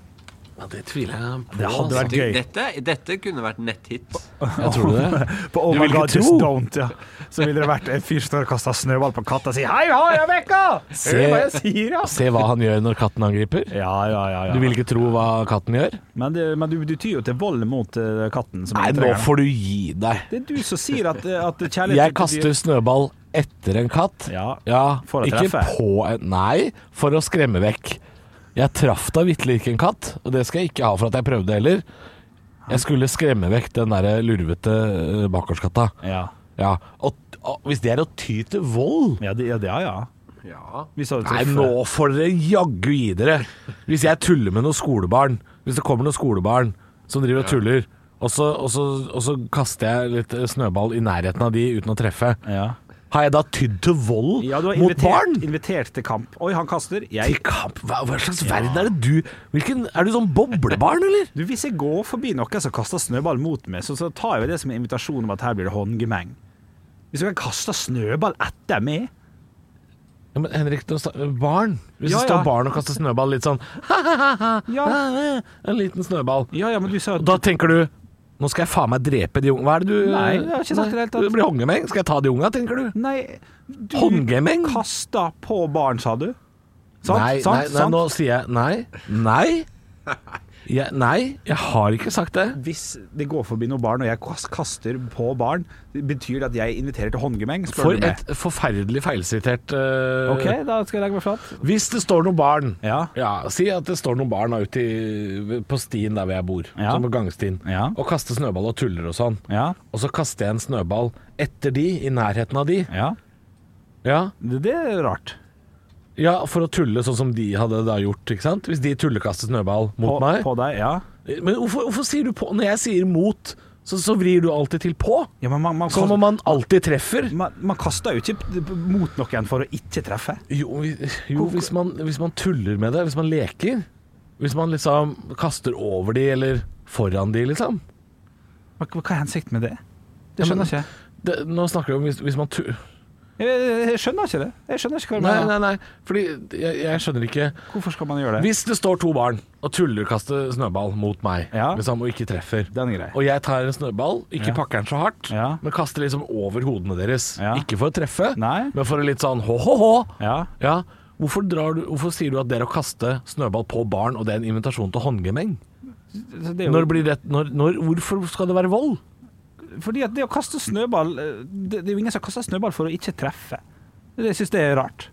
[SPEAKER 3] Ja, det tviler jeg på. altså.
[SPEAKER 4] Det hadde vært gøy.
[SPEAKER 5] Dette, dette kunne vært netthit.
[SPEAKER 3] Jeg tror det.
[SPEAKER 4] På Oh
[SPEAKER 3] Du
[SPEAKER 4] my
[SPEAKER 3] vil ikke
[SPEAKER 4] god,
[SPEAKER 3] tro.
[SPEAKER 4] just don't, ja. Så ville det vært en fyr som står og kaster snøball på katta og sier Hei, hei, Rebekka! Hør hva jeg sier, ja.
[SPEAKER 3] Se hva han gjør når katten angriper.
[SPEAKER 4] Ja, ja, ja.
[SPEAKER 3] Du vil ikke tro hva katten gjør?
[SPEAKER 4] Men, det, men du, du tyr jo til vold mot eh, katten. Som
[SPEAKER 3] Nei, nå
[SPEAKER 4] entrengeren.
[SPEAKER 3] får du gi deg.
[SPEAKER 4] Det er du som sier at, eh, at kjærlighet
[SPEAKER 3] Jeg
[SPEAKER 4] til dyr-
[SPEAKER 3] kaster snøball etter en katt.
[SPEAKER 4] Ja, for å
[SPEAKER 3] ikke
[SPEAKER 4] treffe.
[SPEAKER 3] på en Nei, for å skremme vekk. Jeg traff da vitterlig ikke en katt, og det skal jeg ikke ha for at jeg prøvde heller. Jeg skulle skremme vekk den der lurvete eh, bakgårdskatta.
[SPEAKER 4] Ja,
[SPEAKER 3] Ja. Og, og hvis det er å ty til vold
[SPEAKER 4] ja, det, ja, det- ja. ja.
[SPEAKER 5] Ja.
[SPEAKER 4] Vi så det
[SPEAKER 3] Nei,
[SPEAKER 4] treffe.
[SPEAKER 3] nå får dere jaggu gi dere. Hvis jeg tuller med noen skolebarn, hvis det kommer noen skolebarn som driver og tuller, og så, og, så, og så kaster jeg litt eh, snøball i nærheten av de uten å treffe,
[SPEAKER 4] Ja.
[SPEAKER 3] har jeg da tydd til vold
[SPEAKER 4] ja, du har
[SPEAKER 3] mot
[SPEAKER 4] invitert,
[SPEAKER 3] barn?
[SPEAKER 4] invitert til kamp. Oi, han kaster. Jeg
[SPEAKER 3] Til kamp? Hva, hva slags verden er det du Hvilken, Er du sånn boblebarn, eller?
[SPEAKER 4] Du, Hvis jeg går forbi noen som kaster snøball mot meg, så, så tar jeg jo det som en invitasjon om at her blir det håndgemeng. Hvis du kan kaste snøball etter meg
[SPEAKER 3] [laughs] Ja, men Henrik, det sta- eh, barn Hvis
[SPEAKER 4] Ja,
[SPEAKER 3] det står
[SPEAKER 4] ja.
[SPEAKER 3] barn og kaster snøball litt sånn [laughs] ha-ha-ha, en liten snøball
[SPEAKER 4] Ja, ja, men du sa
[SPEAKER 3] Og Da tenker du Nå skal jeg faen meg drepe de unge Hva er det du
[SPEAKER 4] Nei, jeg har ikke sagt det i det hele tatt.
[SPEAKER 3] Det blir håndgemeng Skal jeg ta de unge, tenker du?
[SPEAKER 4] Nei, du
[SPEAKER 3] Håndgemeng?
[SPEAKER 4] kasta på barn, sa du? Sant?
[SPEAKER 3] nei,
[SPEAKER 4] sant?
[SPEAKER 3] nei, nei, nå sier jeg Nei, nei Jeg, nei, jeg har ikke sagt det.
[SPEAKER 4] Hvis det går forbi noen barn, og jeg kas- kaster på barn, betyr det at jeg inviterer til håndgemeng?
[SPEAKER 3] For
[SPEAKER 4] Spør du meg.
[SPEAKER 3] et forferdelig feilsitert eh,
[SPEAKER 4] OK, da skal jeg legge meg flat.
[SPEAKER 3] Hvis det står noen barn
[SPEAKER 4] Ja.
[SPEAKER 3] Ja, Si at det står noen barn da ute i- på stien der hvor jeg bor,
[SPEAKER 4] Ja.
[SPEAKER 3] som på gangstien,
[SPEAKER 4] Ja.
[SPEAKER 3] og kaster snøball og tuller og sånn.
[SPEAKER 4] Ja.
[SPEAKER 3] Og så kaster jeg en snøball etter de, i nærheten av de.
[SPEAKER 4] ja.
[SPEAKER 3] Ja,
[SPEAKER 4] Det, det er rart.
[SPEAKER 3] ja for å tulle sånn som de hadde da gjort, ikke sant? Hvis de tullekaster snøball mot
[SPEAKER 4] På,
[SPEAKER 3] meg.
[SPEAKER 4] på deg, ja.
[SPEAKER 3] Men hvorfor, hvorfor sier du på? Når jeg sier mot, så, så vrir du alltid til på.
[SPEAKER 4] ja men man, man,
[SPEAKER 3] Som
[SPEAKER 4] kaster,
[SPEAKER 3] om Sånn man alltid treffer.
[SPEAKER 4] man, man kaster jo ikke mot noen for å ikke treffe.
[SPEAKER 3] Jo, vi- jo hvis, man, hvis man tuller med det, hvis man leker Hvis man liksom kaster over de eller foran de, liksom
[SPEAKER 4] Hva, hva er hensikten med det? Det skjønner jeg ikke.
[SPEAKER 3] det, Nå snakker vi om hvis, hvis man tu...
[SPEAKER 4] Jeg, jeg- jeg skjønner ikke det. Jeg skjønner ikke hva du
[SPEAKER 3] Nei,
[SPEAKER 4] mener.
[SPEAKER 3] nei, nei, fordi jeg, jeg skjønner ikke
[SPEAKER 4] Hvorfor skal man gjøre det?
[SPEAKER 3] Hvis det står to barn og tuller kaster snøball mot meg
[SPEAKER 4] Ja.
[SPEAKER 3] liksom, og ikke treffer
[SPEAKER 4] Den er grei.
[SPEAKER 3] og jeg tar en snøball, ikke
[SPEAKER 4] Ja.
[SPEAKER 3] pakker den så hardt,
[SPEAKER 4] Ja.
[SPEAKER 3] men kaster liksom over hodene deres.
[SPEAKER 4] Ja.
[SPEAKER 3] Ikke for å treffe,
[SPEAKER 4] Nei.
[SPEAKER 3] men for å litt sånn hå-hå-hå.
[SPEAKER 4] Ja.
[SPEAKER 3] Ja, hvorfor, drar du, hvorfor sier du at det er å kaste snøball på barn, og det er en invitasjon til håndgemeng?
[SPEAKER 4] Så Det er jo,
[SPEAKER 3] Når blir det, når, når, hvorfor skal det være vold?
[SPEAKER 4] Fordi at det å kaste snøball eh, Det, det er jo ingen som kaster snøball for å ikke treffe. Det syns jeg er rart.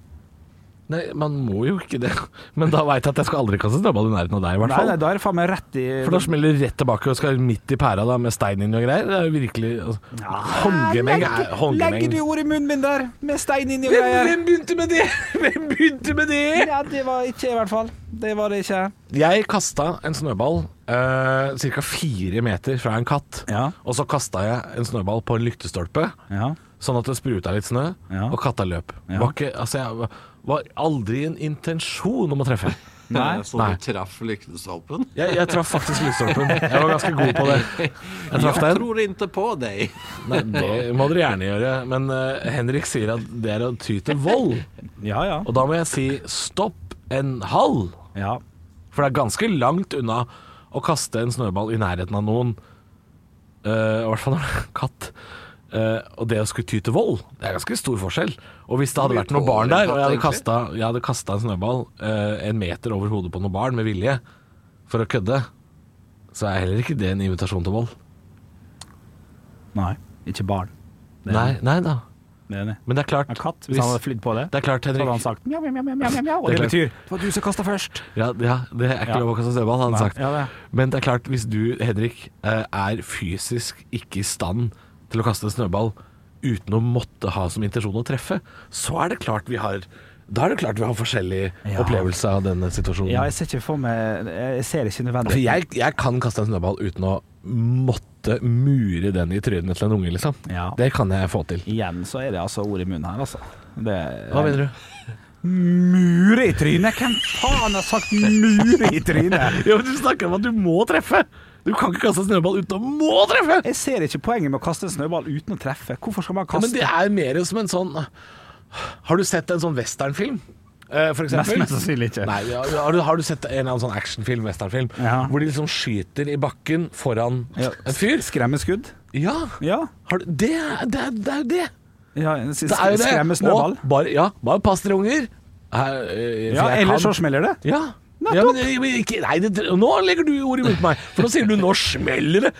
[SPEAKER 3] Nei, man må jo ikke det. [laughs] Men da veit jeg at jeg skal aldri kaste snøball i nærheten av deg, i hvert
[SPEAKER 4] Nei,
[SPEAKER 3] fall.
[SPEAKER 4] nei, da er det faen meg rett i
[SPEAKER 3] For da smeller det rett tilbake og skal midt i pæra da, med stein inn og greier. Det er jo virkelig altså, Håndgemeng er
[SPEAKER 4] Legger
[SPEAKER 3] håndgemeng.
[SPEAKER 4] du ord i munnen min der, med stein inni og
[SPEAKER 3] Hvem,
[SPEAKER 4] greier?
[SPEAKER 3] hvem begynte med det?! [laughs] Hvem begynte med det?!
[SPEAKER 4] Ja, det var ikke jeg, i hvert fall. Det var det ikke.
[SPEAKER 3] Jeg kasta en snøball eh, ca. fire meter fra en katt.
[SPEAKER 4] Ja.
[SPEAKER 3] Og så kasta jeg en snøball på en lyktestolpe.
[SPEAKER 4] Ja.
[SPEAKER 3] Sånn at det spruta litt snø,
[SPEAKER 4] Ja.
[SPEAKER 3] og katta løp.
[SPEAKER 4] Ja.
[SPEAKER 3] Var ikke, altså, jeg var aldri en intensjon om å treffe.
[SPEAKER 4] Nei.
[SPEAKER 5] Så
[SPEAKER 3] Nei.
[SPEAKER 5] du traff lyktestolpen?
[SPEAKER 3] Jeg, jeg traff faktisk lyktestolpen. Jeg var ganske god på det. Jeg traff
[SPEAKER 5] Jeg
[SPEAKER 3] den.
[SPEAKER 5] tror ikke på deg.
[SPEAKER 3] Nei, det må dere gjerne gjøre, men eh, Henrik sier at det er å ty til vold.
[SPEAKER 4] Ja, ja.
[SPEAKER 3] Og da må jeg si stopp en hall,
[SPEAKER 4] ja.
[SPEAKER 3] for det er ganske langt unna å kaste en snøball i nærheten av noen. Eh, I hvert fall når det er en katt. Eh, og det å skulle ty til vold, det er ganske stor forskjell. Og hvis det hadde vært noen barn der, og jeg hadde kasta, jeg hadde kastet en snøball eh, en meter over hodet på noen barn med vilje for å kødde, så er heller ikke det en invitasjon til vold.
[SPEAKER 4] Nei, ikke barn. Det er-
[SPEAKER 3] Nei, nei da.
[SPEAKER 4] Det er enig.
[SPEAKER 3] Men det er klart
[SPEAKER 4] En katt, hvis
[SPEAKER 3] hvis-
[SPEAKER 4] han hadde flydd på det,
[SPEAKER 3] Det er klart,
[SPEAKER 4] så hadde
[SPEAKER 3] Henrik.
[SPEAKER 4] han sagt mjau, mjau, mjau, mjau, mjau, mjau. Og
[SPEAKER 3] Det
[SPEAKER 4] det
[SPEAKER 3] er
[SPEAKER 4] betyr Det var du som kasta først.
[SPEAKER 3] Ja, ja, det er ikke
[SPEAKER 4] Ja.
[SPEAKER 3] lov å kaste snøball, hadde han
[SPEAKER 4] Nei,
[SPEAKER 3] sagt.
[SPEAKER 4] ja, det.
[SPEAKER 3] Men det er klart, hvis du, Henrik, eh, er fysisk ikke i stand til å kaste en snøball uten å måtte ha som intensjon å treffe, så er det klart vi har da er det klart vi har forskjellig
[SPEAKER 4] Ja.
[SPEAKER 3] opplevelse av denne situasjonen.
[SPEAKER 4] Ja, jeg ser ikke for meg Jeg ser ikke
[SPEAKER 3] For
[SPEAKER 4] nødvendig
[SPEAKER 3] jeg, jeg kan kaste en snøball uten å måtte mure den i trynet til en unge, liksom.
[SPEAKER 4] Ja.
[SPEAKER 3] Det kan jeg få til.
[SPEAKER 4] Igjen så er det altså ord i munnen her, altså. Det
[SPEAKER 3] Hva mener du?
[SPEAKER 4] Mure i trynet? Hvem faen har sagt mure i trynet?
[SPEAKER 3] Ja, men du snakker om at du må treffe! Du kan ikke kaste en snøball uten å må treffe!
[SPEAKER 4] Jeg ser ikke poenget med å kaste en snøball uten å treffe. Hvorfor skal man
[SPEAKER 3] Ja,
[SPEAKER 4] kaste
[SPEAKER 3] men det er mer som en sånn Har du sett en sånn westernfilm? eh, For eksempel?
[SPEAKER 4] Mest- mest sannsynlig ikke.
[SPEAKER 3] Nei, ja, har, du, har du sett en eller annen sånn actionfilm, westernfilm,
[SPEAKER 4] Ja.
[SPEAKER 3] hvor de liksom skyter i bakken foran
[SPEAKER 4] Ja,
[SPEAKER 3] en fyr?
[SPEAKER 4] Skremmeskudd?
[SPEAKER 3] Ja!
[SPEAKER 4] Ja.
[SPEAKER 3] Har du, det, er- det, er- det er jo det!
[SPEAKER 4] ja en s-
[SPEAKER 3] Det er jo det!
[SPEAKER 4] Skremmesnøball?
[SPEAKER 3] Og bare, ja, bare pass dere, unger. Her, eh, for
[SPEAKER 4] Ja,
[SPEAKER 3] jeg
[SPEAKER 4] eller
[SPEAKER 3] kan-
[SPEAKER 4] så smeller det.
[SPEAKER 3] ja.
[SPEAKER 4] Nettopp.
[SPEAKER 3] ja men, eh, men ikke, nei, det, nå legger du ordet mot meg, for nå sier du 'nå smeller det'.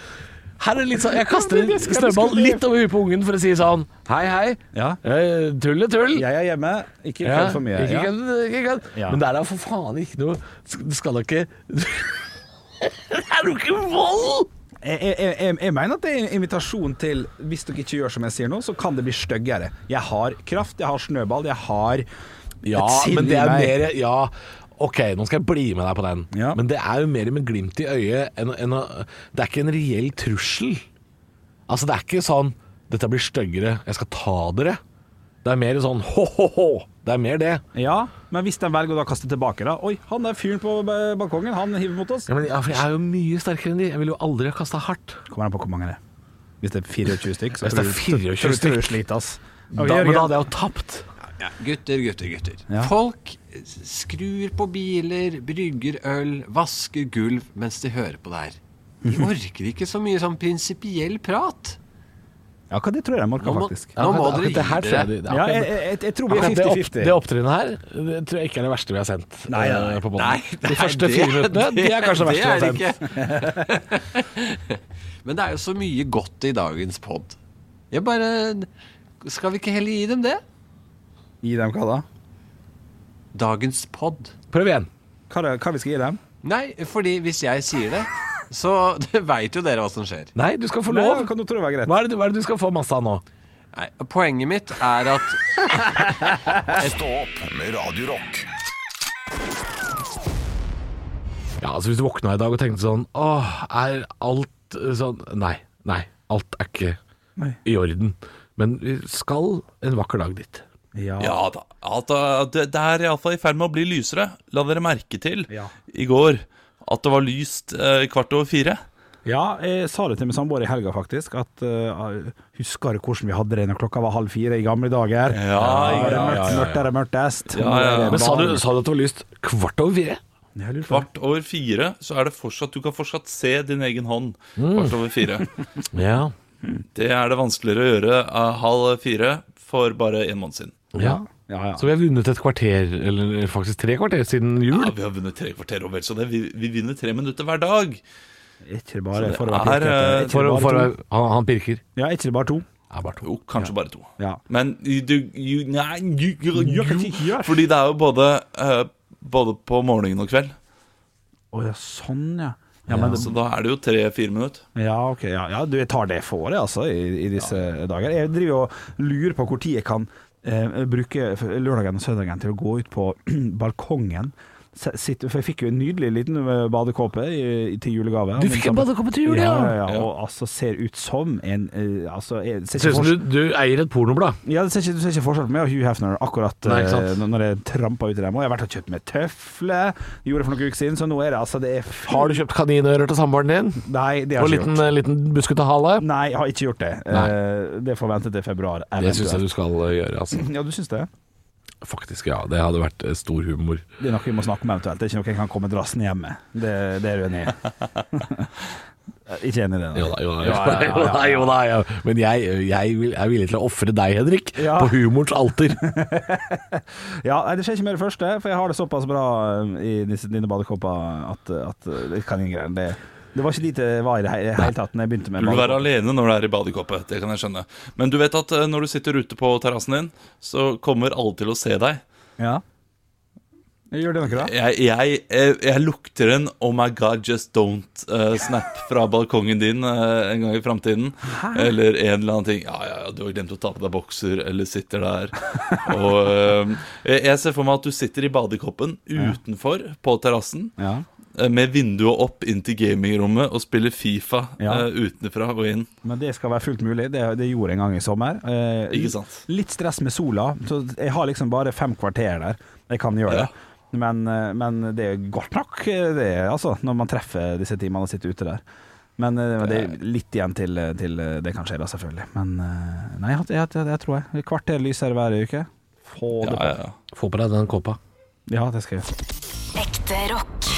[SPEAKER 3] Her er det litt sånn, Jeg kaster en snøball litt over huet på ungen for å si sånn Hei, hei.
[SPEAKER 4] Ja.
[SPEAKER 3] Eh, tull er tull.
[SPEAKER 4] Jeg er hjemme, ikke
[SPEAKER 3] Ja,
[SPEAKER 4] kødd for mye.
[SPEAKER 3] Ikke
[SPEAKER 4] Ja.
[SPEAKER 3] kødd, ikke kødd.
[SPEAKER 4] Ja.
[SPEAKER 3] Men det er da for faen ikke noe Du skal da [laughs] ikke Det er jo ikke vold!
[SPEAKER 4] Jeg, jeg, jeg, jeg mener at det er en invitasjon til Hvis dere ikke gjør som jeg sier nå, så kan det bli styggere. Jeg har kraft, jeg har snøball, jeg har
[SPEAKER 3] Ja,
[SPEAKER 4] et sinn
[SPEAKER 3] men det
[SPEAKER 4] i
[SPEAKER 3] er
[SPEAKER 4] meg.
[SPEAKER 3] mer Ja, ok, nå skal jeg bli med deg på den.
[SPEAKER 4] Ja.
[SPEAKER 3] Men det er jo mer med glimt i øyet enn, enn å Det er ikke en reell trussel. Altså, det er ikke sånn 'Dette blir styggere. Jeg skal ta dere'. Det er mer sånn ho-ho-ho. Det er mer det.
[SPEAKER 4] Ja, men hvis de velger å da kaste tilbake, da Oi, han der fyren på ba- balkongen, han hiver mot oss.
[SPEAKER 3] Ja, men jeg, for jeg er jo mye sterkere enn de. Jeg ville jo aldri ha kasta hardt.
[SPEAKER 4] Kommer an på hvor mange det er. Hvis det er 24 stykk, så
[SPEAKER 3] Hvis det er
[SPEAKER 4] tror
[SPEAKER 3] 24
[SPEAKER 4] du- tror du- tror du
[SPEAKER 3] stykk.
[SPEAKER 4] sliter, ass.
[SPEAKER 3] Da, men
[SPEAKER 4] Ok,
[SPEAKER 3] da
[SPEAKER 4] Jørgen.
[SPEAKER 3] hadde jeg jo tapt.
[SPEAKER 5] Gutter, gutter, gutter.
[SPEAKER 4] Ja.
[SPEAKER 5] Folk skrur på biler, brygger øl, vasker gulv
[SPEAKER 3] Mhm.
[SPEAKER 5] mens de hører på det her. De orker ikke så mye sånn prinsipiell prat.
[SPEAKER 4] Ja, hva det tror jeg de orker,
[SPEAKER 5] Nå må-
[SPEAKER 4] faktisk.
[SPEAKER 5] Ja, Nå må dere
[SPEAKER 3] Akkurat det her
[SPEAKER 5] gi
[SPEAKER 3] tror jeg
[SPEAKER 5] dere.
[SPEAKER 3] de-
[SPEAKER 4] Ja, jeg,
[SPEAKER 3] akkurat-
[SPEAKER 4] jeg, jeg tror vi er
[SPEAKER 3] akkurat det, opp,
[SPEAKER 4] 50-50.
[SPEAKER 3] det opptrinnet her det tror jeg ikke er det verste vi har sendt.
[SPEAKER 4] Nei, nei, nei.
[SPEAKER 3] eh, på båten.
[SPEAKER 5] Nei, nei,
[SPEAKER 3] De første fire
[SPEAKER 5] det-
[SPEAKER 3] minuttene de er kanskje det verste vi har
[SPEAKER 5] det
[SPEAKER 3] sendt.
[SPEAKER 5] er det ikke. [laughs] Men det er jo så mye godt i dagens pod. Jeg bare Skal vi ikke heller gi dem det?
[SPEAKER 4] Gi dem hva da?
[SPEAKER 5] Dagens pod.
[SPEAKER 3] Prøv igjen.
[SPEAKER 4] Hva, det- hva vi skal gi dem?
[SPEAKER 5] Nei, fordi hvis jeg sier det, så [laughs] veit jo dere hva som skjer.
[SPEAKER 3] Nei, du skal få
[SPEAKER 4] Nei,
[SPEAKER 3] lov.
[SPEAKER 4] ja, kan du tro det var greit?
[SPEAKER 3] Hva er det, du- hva er det du skal få masse av nå?
[SPEAKER 5] Nei, poenget mitt er at
[SPEAKER 1] Stå opp med Radio Rock.
[SPEAKER 3] Ja, altså Hvis du våkna i dag og tenkte sånn Åh, er alt eh, sånn Nei. Nei. Alt er ikke
[SPEAKER 4] Nei.
[SPEAKER 3] i orden. Men vi skal en vakker dag dit.
[SPEAKER 4] Ja.
[SPEAKER 6] Ja da. At, uh, det, det er iallfall i ferd med å bli lysere. La dere merke til
[SPEAKER 4] Ja.
[SPEAKER 6] i går at det var lyst eh, kvart over fire.
[SPEAKER 4] Ja, jeg sa det til min samboer i helga, faktisk. At eh, Husker du hvordan vi hadde det når klokka var halv fire i gamle dager?
[SPEAKER 6] Ja,
[SPEAKER 4] Da var det
[SPEAKER 6] ja,
[SPEAKER 4] mørkt,
[SPEAKER 6] ja, ja.
[SPEAKER 4] mørtest, mørtest.
[SPEAKER 6] Ja, ja, ja.
[SPEAKER 4] Nå er det
[SPEAKER 3] Men sa du,
[SPEAKER 4] vanlig.
[SPEAKER 3] sa du at det var lyst kvart over fire?
[SPEAKER 4] Jeg lurer på det.
[SPEAKER 6] Kvart over fire, så er det fortsatt Du kan fortsatt se din egen hånd kvart over fire.
[SPEAKER 3] Ja.
[SPEAKER 6] Det er det vanskeligere å gjøre eh, halv fire for bare en måned siden.
[SPEAKER 3] ja.
[SPEAKER 4] Ja, ja.
[SPEAKER 3] Så vi har vunnet et kvarter, eller faktisk tre kvarter, siden jul.
[SPEAKER 6] Ja, vi har vunnet tre kvarter og vel så det. Vi, vi vinner tre minutter hver dag.
[SPEAKER 4] Ikke bare
[SPEAKER 6] det
[SPEAKER 4] for å være
[SPEAKER 6] er, eh,
[SPEAKER 4] pirkete.
[SPEAKER 3] For,
[SPEAKER 4] Ikke
[SPEAKER 3] å-
[SPEAKER 4] bare
[SPEAKER 3] for,
[SPEAKER 4] to.
[SPEAKER 3] å- han, han pirker.
[SPEAKER 4] Ja, ikke bare to.
[SPEAKER 3] Ja, bare to.
[SPEAKER 6] Jo, kanskje bare to.
[SPEAKER 4] Ja.
[SPEAKER 6] Men du you, Nei, you, you,
[SPEAKER 4] Ja,
[SPEAKER 6] you,
[SPEAKER 4] kanskje ikke gjør.
[SPEAKER 6] Fordi det er jo både, eh, både på morgenen og kveld.
[SPEAKER 4] Å ja, sånn, ja. Ja, men,
[SPEAKER 6] Så da er det jo tre-fire minutter.
[SPEAKER 4] ja, ok. Ja, ja, du, jeg tar det for det, altså, i, i disse dager. Jeg driver og lurer på når jeg kan eh, bruke f- lørdagen og søndagen til å gå ut på [clears throat] balkongen. Se- Sitte, for jeg fikk jo en nydelig liten eh, badekåpe i, i, til julegave.
[SPEAKER 3] Du fikk en badekåpe til jul,
[SPEAKER 4] ja?
[SPEAKER 3] ja.
[SPEAKER 4] Ja, ja, Og altså ser ut som en eh, altså, jeg, ser
[SPEAKER 3] Ser ut
[SPEAKER 4] ikke
[SPEAKER 3] som
[SPEAKER 4] forskjell-
[SPEAKER 3] du, du eier et pornoblad.
[SPEAKER 4] ja, det ser ikke, du ser ikke forskjell på meg og Hugh Hefner akkurat
[SPEAKER 3] Nei, ikke
[SPEAKER 4] eh,
[SPEAKER 3] sant?
[SPEAKER 4] når jeg trampa ut i dem. Og jeg har vært og kjøpt meg tøfler, gjorde det for noen uker siden, så nå er det altså det er full-
[SPEAKER 3] Har du kjøpt kaninører til samboeren din?
[SPEAKER 4] Nei, det har
[SPEAKER 3] Og
[SPEAKER 4] jeg ikke
[SPEAKER 3] liten,
[SPEAKER 4] gjort.
[SPEAKER 3] liten buskete hale?
[SPEAKER 4] Nei, jeg har ikke gjort det.
[SPEAKER 3] Nei.
[SPEAKER 4] Eh, Det får vente til februar.
[SPEAKER 3] Det syns jeg du skal eh, gjøre, altså.
[SPEAKER 4] Ja, du syns det?
[SPEAKER 3] Faktisk, ja. Det hadde vært eh, stor humor.
[SPEAKER 4] Det er noe vi må snakke om eventuelt. Det er ikke noe jeg kan komme drassen hjem med. Det, det er du
[SPEAKER 6] [laughs]
[SPEAKER 4] enig i? ikke enig i det? nei.
[SPEAKER 3] Jo da, jo da. Jo
[SPEAKER 4] Ja, ja,
[SPEAKER 3] da, jo da,
[SPEAKER 4] ja, ja.
[SPEAKER 3] jo da ja. Men jeg, jeg vil, er villig til å ofre deg, Henrik,
[SPEAKER 4] Ja.
[SPEAKER 3] på humorens alter.
[SPEAKER 4] Ja, nei, Det skjer ikke med det første, for jeg har det såpass bra eh, i disse, dine badekåper at, at eh, det kan ingen greier. Det, det var ikke dit jeg var i det he- hele tatt da jeg begynte med
[SPEAKER 6] Du vil være
[SPEAKER 4] badekåper.
[SPEAKER 6] alene når du er i badekåpet, det kan jeg skjønne. Men du vet at eh, når du sitter ute på terrassen din, så kommer alle til å se deg.
[SPEAKER 4] Ja. Gjør det noe, da?
[SPEAKER 6] Jeg, jeg, eh, jeg lukter en Oh my God, just don't eh, snap fra balkongen din eh, en gang i framtiden. Eller en eller annen ting. Ja, ja, ja, du har glemt å ta på deg bokser, eller sitter der. Og eh, jeg- jeg ser for meg at du sitter i badekåpen utenfor på terrassen.
[SPEAKER 4] Ja.
[SPEAKER 6] eh, Med vinduet opp inn til gamingrommet og spiller Fifa
[SPEAKER 4] Ja.
[SPEAKER 6] eh, utenfra og inn.
[SPEAKER 4] Men det skal være fullt mulig. Det, det gjorde jeg en gang i sommer. Eh,
[SPEAKER 6] Ikke sant?
[SPEAKER 4] Litt stress med sola, så jeg har liksom bare fem kvarter der jeg kan gjøre
[SPEAKER 6] Ja.
[SPEAKER 4] det. Men, eh, men det er godt nok, eh, det, altså, når man treffer disse timene og sitter ute der. Men eh, det er litt igjen til, eh, til det kan skje, da, selvfølgelig. Men eh, nei, jeg, jeg, jeg, jeg tror jeg. Et kvarter lys her hver uke. Få det
[SPEAKER 6] Ja,
[SPEAKER 4] på.
[SPEAKER 6] ja, ja.
[SPEAKER 3] Få på deg den kåpa.
[SPEAKER 4] Ja, det skal jeg gjøre.
[SPEAKER 2] Ekte rock.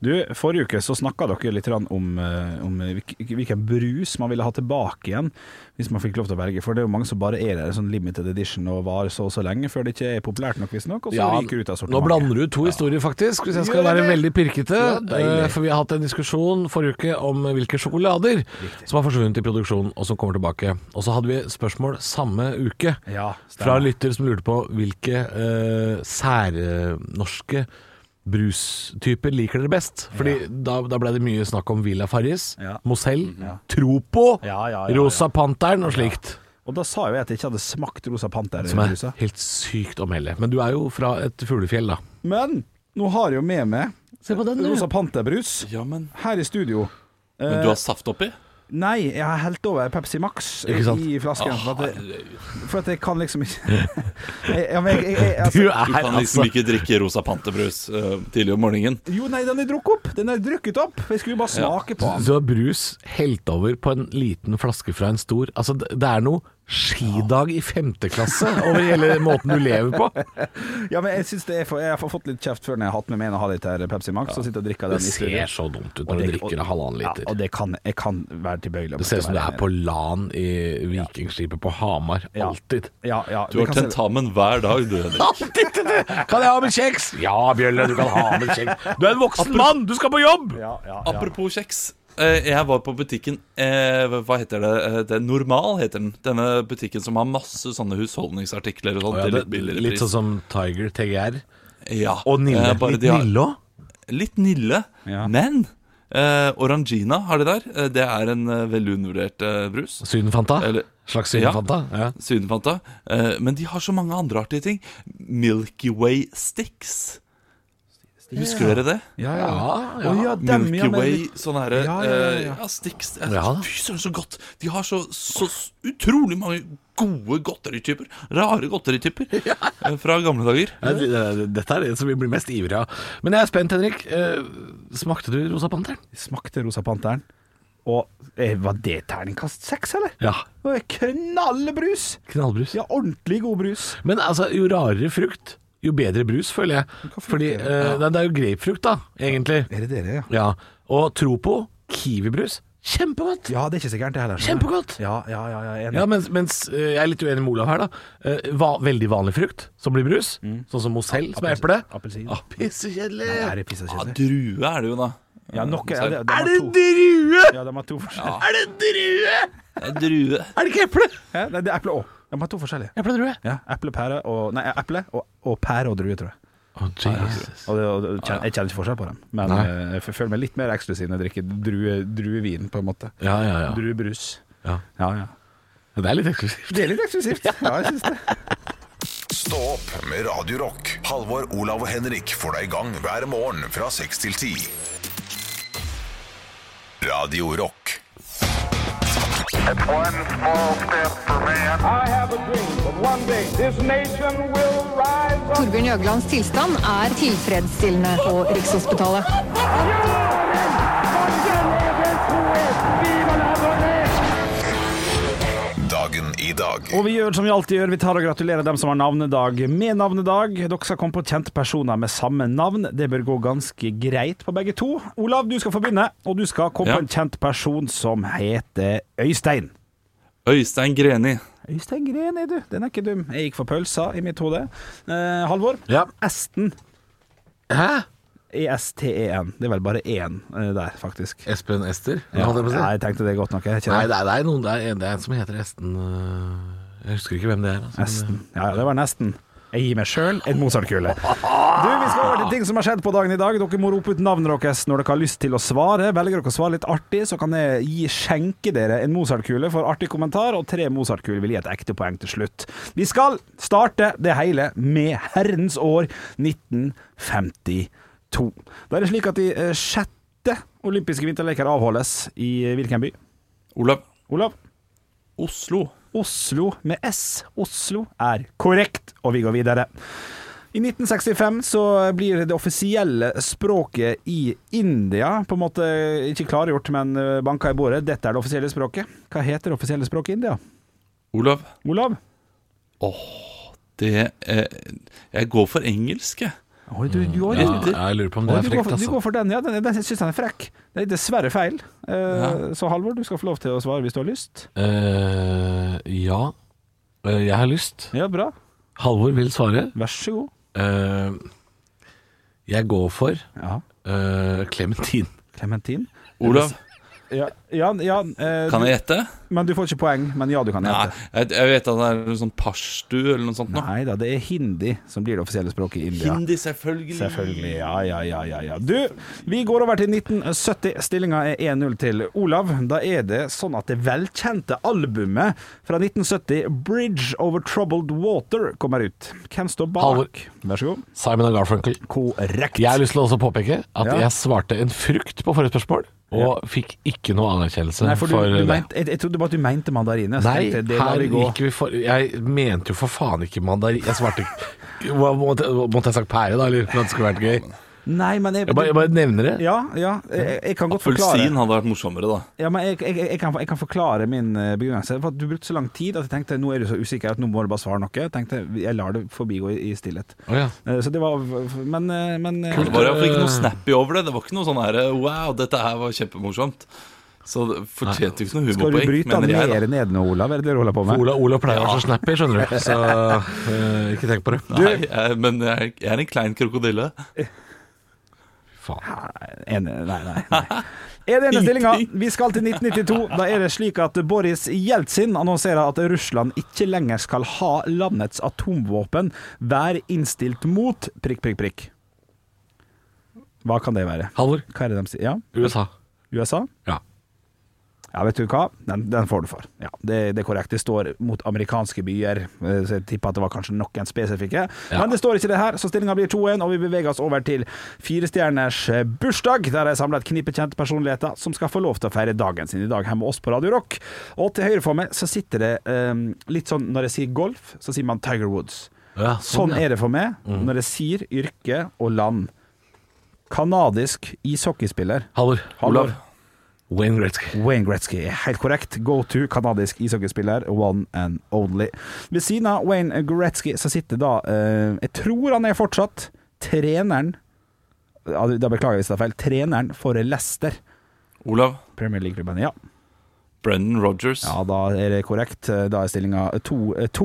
[SPEAKER 4] Du, forrige uke så snakka dere litt grann om, eh, om hvilk- hvilken brus man ville ha tilbake igjen, hvis man fikk lov til å velge. For det er jo mange som bare er der i sånn limited edition og varer så og så lenge før det ikke er populært nok, visstnok, og så ryker ut av
[SPEAKER 3] nå
[SPEAKER 4] sortimentet.
[SPEAKER 3] blander du to historier, faktisk, hvis jeg skal
[SPEAKER 4] Gjør
[SPEAKER 3] være
[SPEAKER 4] jeg
[SPEAKER 3] veldig
[SPEAKER 4] det?
[SPEAKER 3] pirkete.
[SPEAKER 4] Ja, deilig.
[SPEAKER 3] eh, For vi har hatt en diskusjon forrige uke om hvilke sjokolader som har forsvunnet i produksjon, og som kommer tilbake. Og så hadde vi spørsmål samme uke
[SPEAKER 4] Ja,
[SPEAKER 3] fra
[SPEAKER 4] stemmer.
[SPEAKER 3] lytter som lurte på hvilke eh, særnorske brustyper liker dere best. Fordi da, da ble det mye snakk om Villa Farris,
[SPEAKER 4] Ja.
[SPEAKER 3] Mozell, Tropo,
[SPEAKER 4] Ja, ja, ja, ja.
[SPEAKER 3] Rosa Panteren og slikt.
[SPEAKER 4] Og da sa jo jeg at jeg ikke hadde smakt rosa panter.
[SPEAKER 3] Som er helt sykt å melde. Men du er jo fra et fuglefjell, da.
[SPEAKER 4] Men nå har jeg jo med meg
[SPEAKER 3] Se på den, du.
[SPEAKER 4] rosa panterbrus
[SPEAKER 6] Ja, men
[SPEAKER 4] her i studio.
[SPEAKER 3] Eh,
[SPEAKER 6] Men du har saft oppi?
[SPEAKER 4] Nei, jeg har helt over Pepsi Max
[SPEAKER 3] Ikke sant?
[SPEAKER 4] i flasken.
[SPEAKER 6] Ah,
[SPEAKER 4] For at, jeg,
[SPEAKER 6] herregud.
[SPEAKER 4] for at jeg kan liksom ikke [laughs] Jeg- ja, men jeg, jeg, jeg,
[SPEAKER 3] Du
[SPEAKER 4] altså,
[SPEAKER 6] Du
[SPEAKER 3] er
[SPEAKER 6] kan liksom
[SPEAKER 3] altså
[SPEAKER 6] ikke drikke rosa pantebrus eh, tidlig om morgenen.
[SPEAKER 4] Jo, nei, den er drukket opp. Den er drukket opp. Jeg skulle jo bare smake på den.
[SPEAKER 3] Du har brus helt over på en liten flaske fra en stor. Altså, det det er noe skidag i femte klasse over hele måten du lever på.
[SPEAKER 4] Ja, men jeg synes det er for, Jeg har fått litt kjeft før når jeg har hatt med meg en og har litt her Pepsi Max, og sitter og drikker
[SPEAKER 3] Det
[SPEAKER 4] den i studio.
[SPEAKER 3] ser så dumt ut når du drikker en halvannen liter.
[SPEAKER 4] Ja, og det kan, jeg kan være tilbøyelig.
[SPEAKER 3] Det ser ut som det er på LAN i Vikingskipet på Hamar.
[SPEAKER 4] Ja.
[SPEAKER 3] Alltid.
[SPEAKER 4] ja, ja,
[SPEAKER 6] Du har
[SPEAKER 4] det kan se-
[SPEAKER 6] tentamen hver dag, du, Henrik.
[SPEAKER 3] Alltid til det! Kan jeg ha med kjeks? Ja, Bjølle, du kan ha med kjeks. Du er en voksen mann, du skal på jobb!
[SPEAKER 4] Ja, ja, ja.
[SPEAKER 6] Apropos kjeks. eh, Jeg var på butikken eh, Hva heter det? Eh, det er Normal heter den. Denne butikken som har masse sånne husholdningsartikler og sånt.
[SPEAKER 3] Å ja,
[SPEAKER 6] til
[SPEAKER 3] det,
[SPEAKER 6] litt billigere
[SPEAKER 3] litt
[SPEAKER 6] pris.
[SPEAKER 3] sånn som Tiger, TGR.
[SPEAKER 6] ja.
[SPEAKER 3] Og Nille.
[SPEAKER 6] Eh, bare
[SPEAKER 3] Litt
[SPEAKER 6] de har-
[SPEAKER 3] Nille òg?
[SPEAKER 6] litt Nille.
[SPEAKER 4] Ja.
[SPEAKER 6] Men eh, Orangina har de der. Eh, Det er en eh, veldig undervurdert eh, brus.
[SPEAKER 3] Sydenfanta?
[SPEAKER 6] Eller-
[SPEAKER 3] Slags
[SPEAKER 6] Ja.
[SPEAKER 3] Sydenfanta? Ja.
[SPEAKER 6] Sydenfanta. Eh, men de har så mange andre artige ting. Milky Way Sticks. Husker dere det?
[SPEAKER 4] Ja, ja.
[SPEAKER 3] Ja, ja.
[SPEAKER 4] Å, ja, dem,
[SPEAKER 6] Milky
[SPEAKER 4] ja, men-
[SPEAKER 6] Way, sånn herre
[SPEAKER 4] Ja,
[SPEAKER 6] ja,
[SPEAKER 4] ja, ja, ja.
[SPEAKER 6] ja, Sticks. Eh,
[SPEAKER 3] Ja, da.
[SPEAKER 6] Fy søren, så godt! De har så, så s- utrolig mange gode godterityper. Rare godterityper
[SPEAKER 4] [laughs]
[SPEAKER 6] eh, fra gamle dager.
[SPEAKER 3] Nei, det- det- Dette er det som vi blir mest ivrige av. Men jeg er spent, Henrik. Eh, Smakte du Rosa Panteren?
[SPEAKER 4] Smakte Rosa Panteren. Og eh, var det terningkast seks, eller?
[SPEAKER 3] Ja.
[SPEAKER 4] Det var Knallbrus!
[SPEAKER 3] Knallbrus.
[SPEAKER 4] Ja, ordentlig god brus.
[SPEAKER 3] Men altså, jo rarere frukt, jo bedre brus, føler jeg. Fordi eh, nei, det er jo grapefrukt, da, egentlig.
[SPEAKER 4] Er det dere, ja?
[SPEAKER 3] Ja. Og Tropo, kiwibrus, kjempegodt!
[SPEAKER 4] Ja, det er ikke så gærent, det heller. skjønner du.
[SPEAKER 3] Kjempegodt.
[SPEAKER 4] Ja, ja, ja, ja, enig.
[SPEAKER 3] Ja, mens, mens eh, jeg er litt uenig med Olav her, da. Eh, va veldig vanlig frukt som blir brus. Sånn som Mozell, som er
[SPEAKER 4] Mm. Appelsin-
[SPEAKER 3] eple.
[SPEAKER 4] appelsin.
[SPEAKER 3] Ah, pissekjedelig!
[SPEAKER 4] Er det piss og
[SPEAKER 6] Ja,
[SPEAKER 4] kjedelig?
[SPEAKER 6] drue er det jo, da.
[SPEAKER 4] Ja, nok er det.
[SPEAKER 3] Er det drue?!
[SPEAKER 4] Ja, de har to forskjellige.
[SPEAKER 3] Er det drue?!
[SPEAKER 6] Det er drue.
[SPEAKER 3] Er det ikke eple?!
[SPEAKER 4] Hæ? Nei, det er eple òg. De har to forskjellige.
[SPEAKER 3] Epledrue.
[SPEAKER 4] Ja, eple, pære og Nei, eple og, og pære og drue, tror jeg.
[SPEAKER 3] Oh, Jesus.
[SPEAKER 4] Og det, og det, kjen- jeg kjenner ikke forskjell på dem, men
[SPEAKER 3] Nei.
[SPEAKER 4] eh, jeg føler meg litt mer eksklusiv når jeg drikker drue, druevin, på en måte.
[SPEAKER 3] Ja, ja, ja.
[SPEAKER 4] Druebrus.
[SPEAKER 3] Ja.
[SPEAKER 4] Ja, ja.
[SPEAKER 3] Det er litt eksklusivt.
[SPEAKER 4] Det er litt eksklusivt. Ja, jeg syns det.
[SPEAKER 1] Stå opp med Radio Rock. Halvor, Olav og Henrik får deg i gang hver morgen fra 6 til 10. Radio Rock.
[SPEAKER 7] One small step for man.
[SPEAKER 8] I have a dream that one day this nation will rise up.
[SPEAKER 9] Torbjørn Jøglands tilstand er tilfredsstillende på Rikshospitalet.
[SPEAKER 1] Dagen i dag.
[SPEAKER 4] [laughs] Og vi gjør som vi alltid gjør, vi tar og gratulerer dem som har navnedag med navnedag. Dere skal komme på kjente personer med samme navn. Det bør gå ganske greit på begge to. Olav, du skal få begynne, og du skal komme
[SPEAKER 6] Ja.
[SPEAKER 4] på en kjent person som heter Øystein.
[SPEAKER 6] Øystein Greni.
[SPEAKER 4] Øystein Greni, du. Den er ikke dum. Jeg gikk for pølsa i mitt hode. Eh, Halvor. E
[SPEAKER 3] Ja.
[SPEAKER 4] Esten.
[SPEAKER 3] Hæ?
[SPEAKER 4] E-S-T-E-N. Det er vel bare én eh, der, faktisk.
[SPEAKER 3] Espen Ester?
[SPEAKER 4] Ja,
[SPEAKER 3] holdt jeg på å si.
[SPEAKER 4] jeg tenkte det godt nok. Jeg
[SPEAKER 3] Nei,
[SPEAKER 4] kjenner
[SPEAKER 3] det er, det er noen det er, en- det er en som heter Esten øh, Jeg husker ikke hvem det er. Altså, men,
[SPEAKER 4] nesten. Ja, ja, det var nesten. Jeg gir meg sjøl en Mozart-kule. Du, Vi skal over til ting som har skjedd på dagen i dag. Dere må rope ut navnet deres når dere har lyst til å svare. Velger dere å svare litt artig, så kan jeg gi skjenke dere en Mozart-kule for artig kommentar, og tre Mozart-kuler vil gi et ekte poeng til slutt. Vi skal starte det hele med herrens år 1952. Da er det slik at de eh, sjette olympiske vinterleker avholdes i eh, hvilken by?
[SPEAKER 6] Olav.
[SPEAKER 4] Olav?
[SPEAKER 6] Oslo.
[SPEAKER 4] Oslo med S. Oslo er korrekt, og vi går videre. I 1965 så blir det offisielle språket i India på en måte ikke klargjort, men eh, banka i bordet. Dette er det offisielle språket. Hva heter det offisielle språket i India?
[SPEAKER 6] Olav.
[SPEAKER 4] Olav?
[SPEAKER 6] Det eh, Jeg går for engelsk, jeg.
[SPEAKER 4] Oi, du, du, oi,
[SPEAKER 3] ja,
[SPEAKER 4] du, du,
[SPEAKER 3] jeg lurer på om det
[SPEAKER 4] oi,
[SPEAKER 3] er
[SPEAKER 4] du, går
[SPEAKER 3] frekt,
[SPEAKER 4] for, du
[SPEAKER 3] altså.
[SPEAKER 4] går for den, ja. Den, den syns den er frekk. Det er dessverre feil. Eh, Så Halvor, du skal få lov til å svare hvis du har lyst.
[SPEAKER 3] Eh, ja. Eh, jeg har lyst.
[SPEAKER 4] Ja, bra.
[SPEAKER 3] Halvor vil svare.
[SPEAKER 4] Vær så god.
[SPEAKER 3] Eh, jeg går for
[SPEAKER 4] Ja.
[SPEAKER 3] eh, Clementin.
[SPEAKER 4] Clementin?
[SPEAKER 6] Olav,
[SPEAKER 4] Ja, ja, ja eh,
[SPEAKER 6] kan
[SPEAKER 4] du,
[SPEAKER 6] jeg gjette?
[SPEAKER 4] men du får ikke poeng. Men ja, du kan
[SPEAKER 6] Nei,
[SPEAKER 4] gjette.
[SPEAKER 6] jeg, jeg vet at det er noe sånn pashtu eller noe sånt. nå.
[SPEAKER 4] Nei da, det er hindi som blir det offisielle språket i India.
[SPEAKER 6] Hindi, selvfølgelig.
[SPEAKER 4] Selvfølgelig. Ja, ja, ja, ja, ja. Du, vi går over til 1970. Stillinga er 1-0 til Olav. Da er det sånn at det velkjente albumet fra 1970, 'Bridge Over Troubled Water', kommer ut. Hvem står bak?
[SPEAKER 3] Halvor.
[SPEAKER 4] Vær så god.
[SPEAKER 3] Simon og Garfunkel.
[SPEAKER 4] Korrekt.
[SPEAKER 3] Jeg har lyst til å også påpeke at
[SPEAKER 4] Ja.
[SPEAKER 3] jeg svarte en frukt på forrige spørsmål, og fikk ikke noe anerkjennelse
[SPEAKER 4] Nei, for
[SPEAKER 3] for,
[SPEAKER 4] du, du
[SPEAKER 3] det.
[SPEAKER 4] mente, jeg, jeg trodde bare at du mente mandarin. jeg. Så
[SPEAKER 3] Nei,
[SPEAKER 4] tenkte jeg, det lar
[SPEAKER 3] her
[SPEAKER 4] vi gå.
[SPEAKER 3] gikk vi for Jeg mente jo for faen ikke mandarin. Jeg svarte Hva- Måtte måtte jeg sagt pære, da? Eller for at det skulle vært gøy?
[SPEAKER 4] Nei, men jeg,
[SPEAKER 3] Jeg bare, jeg bare nevner det.
[SPEAKER 4] Ja, ja. Jeg, jeg kan godt forklare.
[SPEAKER 6] Appelsin hadde vært morsommere, da.
[SPEAKER 4] Ja, men jeg, jeg, jeg, kan, jeg kan forklare min eh, begrunnelse. For at du brukte så lang tid at jeg tenkte nå er du så usikker at nå må du bare svare noe. Jeg tenkte jeg lar det forbigå i, i stillhet.
[SPEAKER 3] Å, ja.
[SPEAKER 4] Eh, Så det var Men, eh, men eh,
[SPEAKER 6] Det var i hvert fall ikke noe snappy over det. Det var ikke noe sånn her Wow, dette her var kjempemorsomt. Så det fortjente jo ikke
[SPEAKER 4] Skal
[SPEAKER 6] noe
[SPEAKER 4] du
[SPEAKER 6] humorpoeng,
[SPEAKER 4] bryte
[SPEAKER 6] mener jeg.
[SPEAKER 4] mer
[SPEAKER 6] da
[SPEAKER 4] ned nå, Olav? Er det det du holder på med?
[SPEAKER 3] Ola, Ola pleier å være så snappy, skjønner du. Så eh, ikke tenk på det.
[SPEAKER 6] Nei, jeg, men jeg, jeg er en klein krokodille.
[SPEAKER 3] Faen.
[SPEAKER 4] En, nei, nei, nei. Er det ene stillinga? Vi skal til 1992. Da er det slik at Boris Jeltsin annonserer at Russland ikke lenger skal ha landets atomvåpen. Vær innstilt mot prikk, prikk, prikk. Hva kan det være?
[SPEAKER 3] Halvor.
[SPEAKER 4] Hva er det de sier? Ja,
[SPEAKER 3] USA.
[SPEAKER 4] USA?
[SPEAKER 3] Ja.
[SPEAKER 4] Ja, vet du hva? Den, den får du for. Ja, det, det er korrekt. Det står mot amerikanske byer, eh, så jeg tipper at det var kanskje noen spesifikke.
[SPEAKER 3] Ja.
[SPEAKER 4] Men det står ikke det her, så stillinga blir 2-1, og vi beveger oss over til firestjerners eh, bursdag, der jeg samler et knippe kjente personligheter som skal få lov til å feire dagen sin i dag her med oss på Radio Rock. Og til høyre for meg så sitter det eh, litt sånn Når jeg sier golf, så sier man Tiger Woods.
[SPEAKER 3] Ja, Mm.
[SPEAKER 4] Sånn er det for meg når jeg sier yrke og land. Kanadisk ishockeyspiller.
[SPEAKER 3] Halvor.
[SPEAKER 4] Halvor.
[SPEAKER 3] Olav. Wayne Gretzky.
[SPEAKER 4] Wayne Gretzky er helt korrekt. Go to kanadisk ishockeyspiller, one and only. Ved siden av Wayne Gretzky så sitter da eh, Jeg tror han er fortsatt treneren ja, Da beklager jeg hvis det er feil. Treneren for Leicester,
[SPEAKER 6] Olav.
[SPEAKER 4] Premier League-klubben. Ja.
[SPEAKER 6] Brendan Rogers.
[SPEAKER 4] ja, da er det korrekt. Da er stillinga eh, 2-2.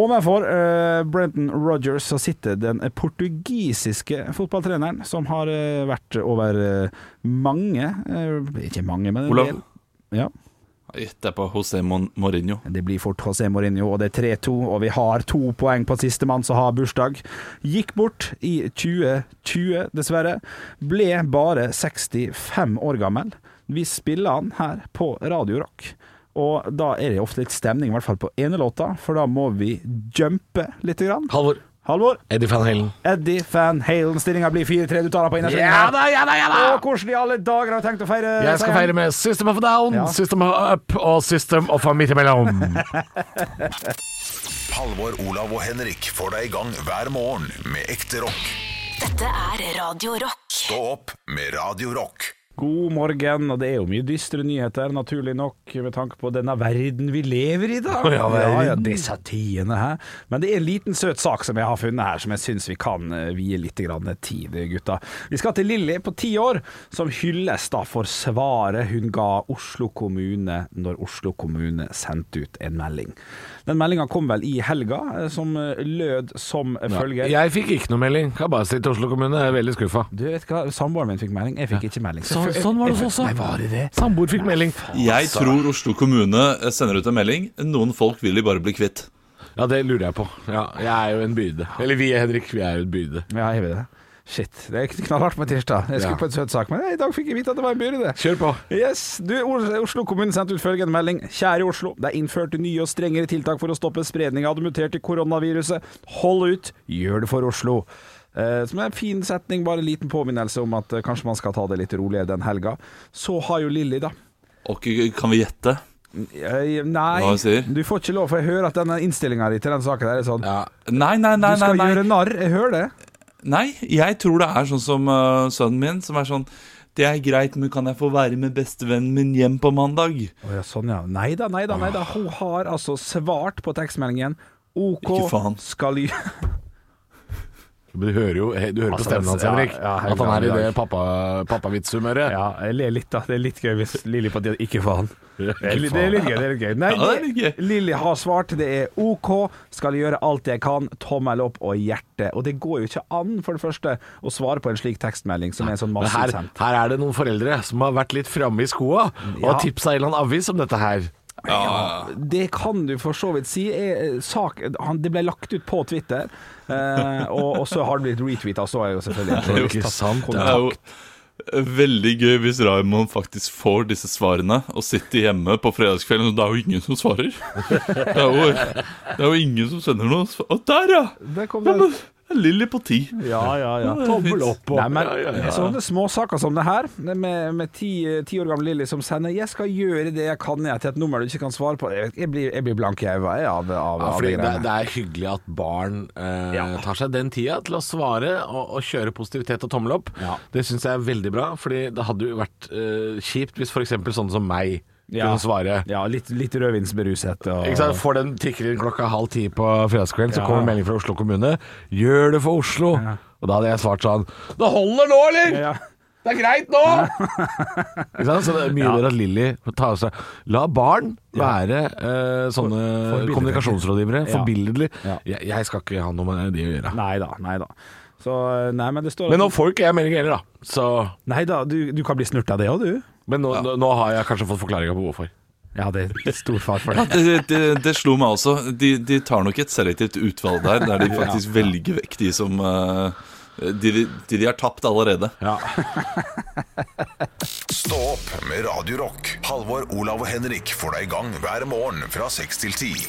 [SPEAKER 4] Ovenfor uh, Brenton Rogers så sitter den portugisiske fotballtreneren som har eh, vært over eh, mange eh, Ikke mange, men en
[SPEAKER 6] Olav.
[SPEAKER 4] del. Ja.
[SPEAKER 6] Gjett deg på José Mon Mourinho.
[SPEAKER 4] Det blir fort José Mourinho, og det er 3-2, og vi har to poeng på sistemann som har bursdag. Gikk bort i 2020, dessverre. Ble bare 65 år gammel. Vi spiller han her på Radio Rock. Og da er det ofte litt stemning, i hvert fall på ene låta, for da må vi jumpe litt. Grann.
[SPEAKER 3] Halvor.
[SPEAKER 4] Halvor,
[SPEAKER 3] Eddie Van Halen.
[SPEAKER 4] Eddie Van Halen, stillinga blir 4-3. Du tar han på innersvingen.
[SPEAKER 3] Ja da, ja da, ja da!
[SPEAKER 4] Og hvordan i alle dager har du tenkt å feire
[SPEAKER 3] Jeg skal
[SPEAKER 4] seieren?
[SPEAKER 3] feire med System of a Down,
[SPEAKER 4] Ja.
[SPEAKER 3] System of a Up og System of a Midt imellom.
[SPEAKER 1] Halvor, Olav og Henrik får deg i gang hver morgen med ekte rock.
[SPEAKER 2] Dette er Radio Rock.
[SPEAKER 1] Stå opp med Radio Rock.
[SPEAKER 4] God morgen, og det er jo mye dystre nyheter, naturlig nok, med tanke på denne verden vi lever i,
[SPEAKER 3] [laughs]
[SPEAKER 4] da. Ja, ja, disse tidene her. Men det er en liten søt sak som jeg har funnet her, som jeg syns vi kan eh, vie litt grann tid, gutta. Vi skal til Lilly på ti år, som hylles da for svaret hun ga Oslo kommune når Oslo kommune sendte ut en melding. Den meldinga kom vel i helga, eh, som eh, lød som følger.
[SPEAKER 3] Jeg fikk ikke noe melding. Kan bare si til Oslo kommune, jeg er veldig skuffa.
[SPEAKER 4] Du vet hva, Samboeren min fikk melding, jeg fikk ikke melding.
[SPEAKER 3] Så- sånn var det altså.
[SPEAKER 4] Jeg-
[SPEAKER 3] også.
[SPEAKER 4] Nei, var det det?
[SPEAKER 3] Samboer fikk melding.
[SPEAKER 6] Jeg
[SPEAKER 4] altså.
[SPEAKER 6] tror Oslo kommune sender ut en melding. Noen folk vil de bare bli kvitt.
[SPEAKER 3] Ja, det lurer jeg på. Ja, jeg er jo en byrde. Eller vi, Henrik, vi er jo en byrde.
[SPEAKER 4] Ja, jeg vet det. Shit. Det er knallhardt på tirsdag. Jeg skulle
[SPEAKER 3] Ja.
[SPEAKER 4] på en søt sak, men i dag fikk jeg vite at det var en byrde.
[SPEAKER 3] Kjør på.
[SPEAKER 4] Yes, du, Oslo kommune sendte ut følgende melding. Kjære Oslo, det er innført nye og strengere tiltak for å stoppe spredning av det muterte koronaviruset. Hold ut, gjør det for Oslo. Eh, som er en fin setning, bare en liten påminnelse om at eh, kanskje man skal ta det litt roligere den helga. Så har jo Lilly, da.
[SPEAKER 6] Og kan vi gjette?
[SPEAKER 4] Eh,
[SPEAKER 6] Hva
[SPEAKER 4] nei,
[SPEAKER 6] sier?
[SPEAKER 4] du får ikke lov, for jeg hører at denne innstillinga di til den saken der er sånn
[SPEAKER 6] Ja. Nei, nei, nei.
[SPEAKER 4] Du skal
[SPEAKER 6] nei, nei.
[SPEAKER 4] gjøre narr, jeg hører det.
[SPEAKER 6] Nei, jeg tror det er sånn som øh, sønnen min, som er sånn Det er greit, men kan jeg få være med bestevennen min hjem på mandag?
[SPEAKER 4] Å ja, sånn ja. Nei da, nei da, nei da. Hun har altså svart på tekstmeldingen. OK,
[SPEAKER 6] Ikke faen.
[SPEAKER 4] skal gjø...
[SPEAKER 3] Du hører jo du hører på
[SPEAKER 4] Altså,
[SPEAKER 3] stemmen hans,
[SPEAKER 4] ja,
[SPEAKER 3] Henrik,
[SPEAKER 4] ja, helt
[SPEAKER 3] at han er i
[SPEAKER 4] glad i
[SPEAKER 3] det pappa- pappavitshumøret.
[SPEAKER 4] Ja, jeg ler litt, da. Det er litt gøy hvis Lilly på tide Ikke faen. Det er litt det er litt gøy. det er litt gøy Nei,
[SPEAKER 6] Ja, det er litt gøy.
[SPEAKER 4] det- Lilly har svart. Det er OK, skal gjøre alt jeg kan. Tommel opp og hjerte. Og det går jo ikke an, for det første, å svare på en slik tekstmelding som er sånn
[SPEAKER 3] Men her,
[SPEAKER 4] massivt sendt.
[SPEAKER 3] her er det noen foreldre som har vært litt framme i skoa og
[SPEAKER 4] Ja.
[SPEAKER 3] har tipsa en eller annen avis om dette her.
[SPEAKER 4] Det kan du for så vidt si. Er, eh, sak, han, det ble lagt ut på Twitter, eh, og, og så har det blitt retweeta, så er jo selvfølgelig
[SPEAKER 3] Det er jo ikke sant,
[SPEAKER 6] Det er jo veldig gøy hvis Raymond faktisk får disse svarene og sitter hjemme på fredagskvelden, og det er jo ingen som svarer. Det er jo, det er jo ingen som sender noe. Og der, ja!
[SPEAKER 4] Der kom
[SPEAKER 6] Ja,
[SPEAKER 4] det.
[SPEAKER 6] men Jeg Lilly på ti.
[SPEAKER 4] Ja, ja, ja.
[SPEAKER 3] Tommel opp og
[SPEAKER 4] Nei, men Sånne småsaker som det her, det med, med ti, ti år gamle Lilly som sender 'Jeg skal gjøre det jeg kan, jeg', til et nummer du ikke kan svare på. Jeg, jeg, blir, jeg blir blank i øynene jeg, av, av,
[SPEAKER 3] Ja, fordi
[SPEAKER 4] av de
[SPEAKER 3] det,
[SPEAKER 4] greiene.
[SPEAKER 3] det er hyggelig at barn eh, tar seg den tida til å svare og, og kjøre positivitet og tommel opp.
[SPEAKER 4] Ja.
[SPEAKER 3] Det syns jeg er veldig bra, fordi det hadde jo vært eh, kjipt hvis f.eks. sånne som meg
[SPEAKER 4] Ja.
[SPEAKER 3] kunne svare.
[SPEAKER 4] Ja, litt, litt rødvinsberuset. Og...
[SPEAKER 3] Ikke sant? Får den tikker inn klokka halv ti på fredagskvelden, så
[SPEAKER 4] Ja.
[SPEAKER 3] kommer melding fra Oslo kommune. 'Gjør det for Oslo'. Og da hadde jeg svart sånn 'Det holder nå, eller?!'
[SPEAKER 4] Ja.
[SPEAKER 3] Det er greit nå! [laughs] Ikke sant? Så det er mye bedre at Lilly tar seg La barn være eh, sånne
[SPEAKER 4] forbilledlig.
[SPEAKER 3] kommunikasjonsrådgivere.
[SPEAKER 4] Ja.
[SPEAKER 3] Forbilledlig.
[SPEAKER 4] Ja.
[SPEAKER 3] Jeg, jeg skal ikke ha noe med det å gjøre.
[SPEAKER 4] Nei da, nei da. Så nei, men det står
[SPEAKER 3] Men nå får ikke jeg melding heller, da. Så,
[SPEAKER 4] Nei da, du, du kan bli snurt av det òg, du.
[SPEAKER 3] men nå, nå, nå har jeg kanskje fått forklaringa på hvorfor.
[SPEAKER 4] Ja, det er stor far for
[SPEAKER 6] Ja,
[SPEAKER 4] det.
[SPEAKER 6] det, det, det slo meg også. De, de tar nok et selektivt utvalg der, der de faktisk velger vekk de som eh, de, de, de har tapt allerede.
[SPEAKER 1] Stå opp med Radio Rock. Halvor, Olav og Henrik får deg i gang hver morgen fra 6 til 10.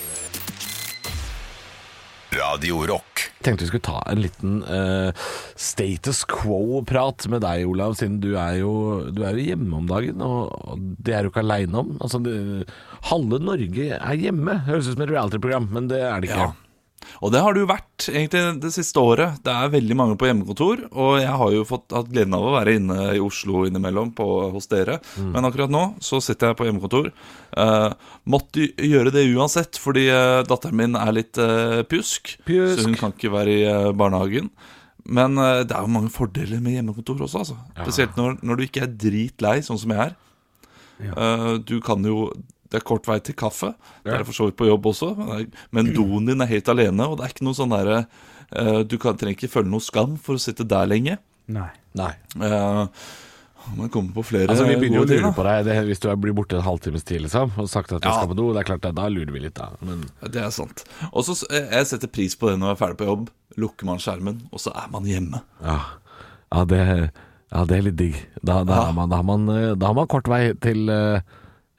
[SPEAKER 1] Radio Rock.
[SPEAKER 3] tenkte vi skulle ta en liten eh, status quo-prat med deg, Olav, siden du er jo, du er jo hjemme om dagen. Og, og det er du ikke aleine om. Altså, det, halve Norge er hjemme. Høres ut som et reality-program, men det er det ikke.
[SPEAKER 6] Ja. Og det har det jo vært egentlig det siste året. Det er veldig mange på hjemmekontor, og jeg har jo fått hatt gleden av å være inne i Oslo innimellom på, hos dere. Men akkurat nå så sitter jeg på hjemmekontor. Eh, måtte gjøre det uansett, fordi eh, datteren min er litt eh, pjusk,
[SPEAKER 3] Pjusk.
[SPEAKER 6] så hun kan ikke være i eh, barnehagen. Men eh, det er jo mange fordeler med hjemmekontor også, altså. Spesielt når, når du ikke er dritlei, sånn som jeg er. Eh, du kan jo Det er kort vei til kaffe. Det er for så vidt på jobb også. men det er- Men doen din er helt alene, og det er ikke noe sånn derre eh, Du kan, trenger ikke føle noe skam for å sitte der lenge.
[SPEAKER 4] Nei.
[SPEAKER 3] Nei.
[SPEAKER 6] Eh, man kommer på flere
[SPEAKER 3] Altså, vi begynner jo å
[SPEAKER 6] gode ting,
[SPEAKER 3] lure
[SPEAKER 6] da.
[SPEAKER 3] på deg det, hvis du er- blir borte en halvtimes tid liksom, og sagt at du
[SPEAKER 6] Ja.
[SPEAKER 3] skal på do. Det er klart, det, Da lurer vi litt, da. Men
[SPEAKER 6] Det er sant. Og så eh, jeg setter pris på det når jeg er ferdig på jobb. Lukker man skjermen, og så er man hjemme.
[SPEAKER 3] ja, ja, det, ja det er litt digg. Da, da,
[SPEAKER 6] Ja.
[SPEAKER 3] er man, da, har man, eh, da har man kort vei til eh,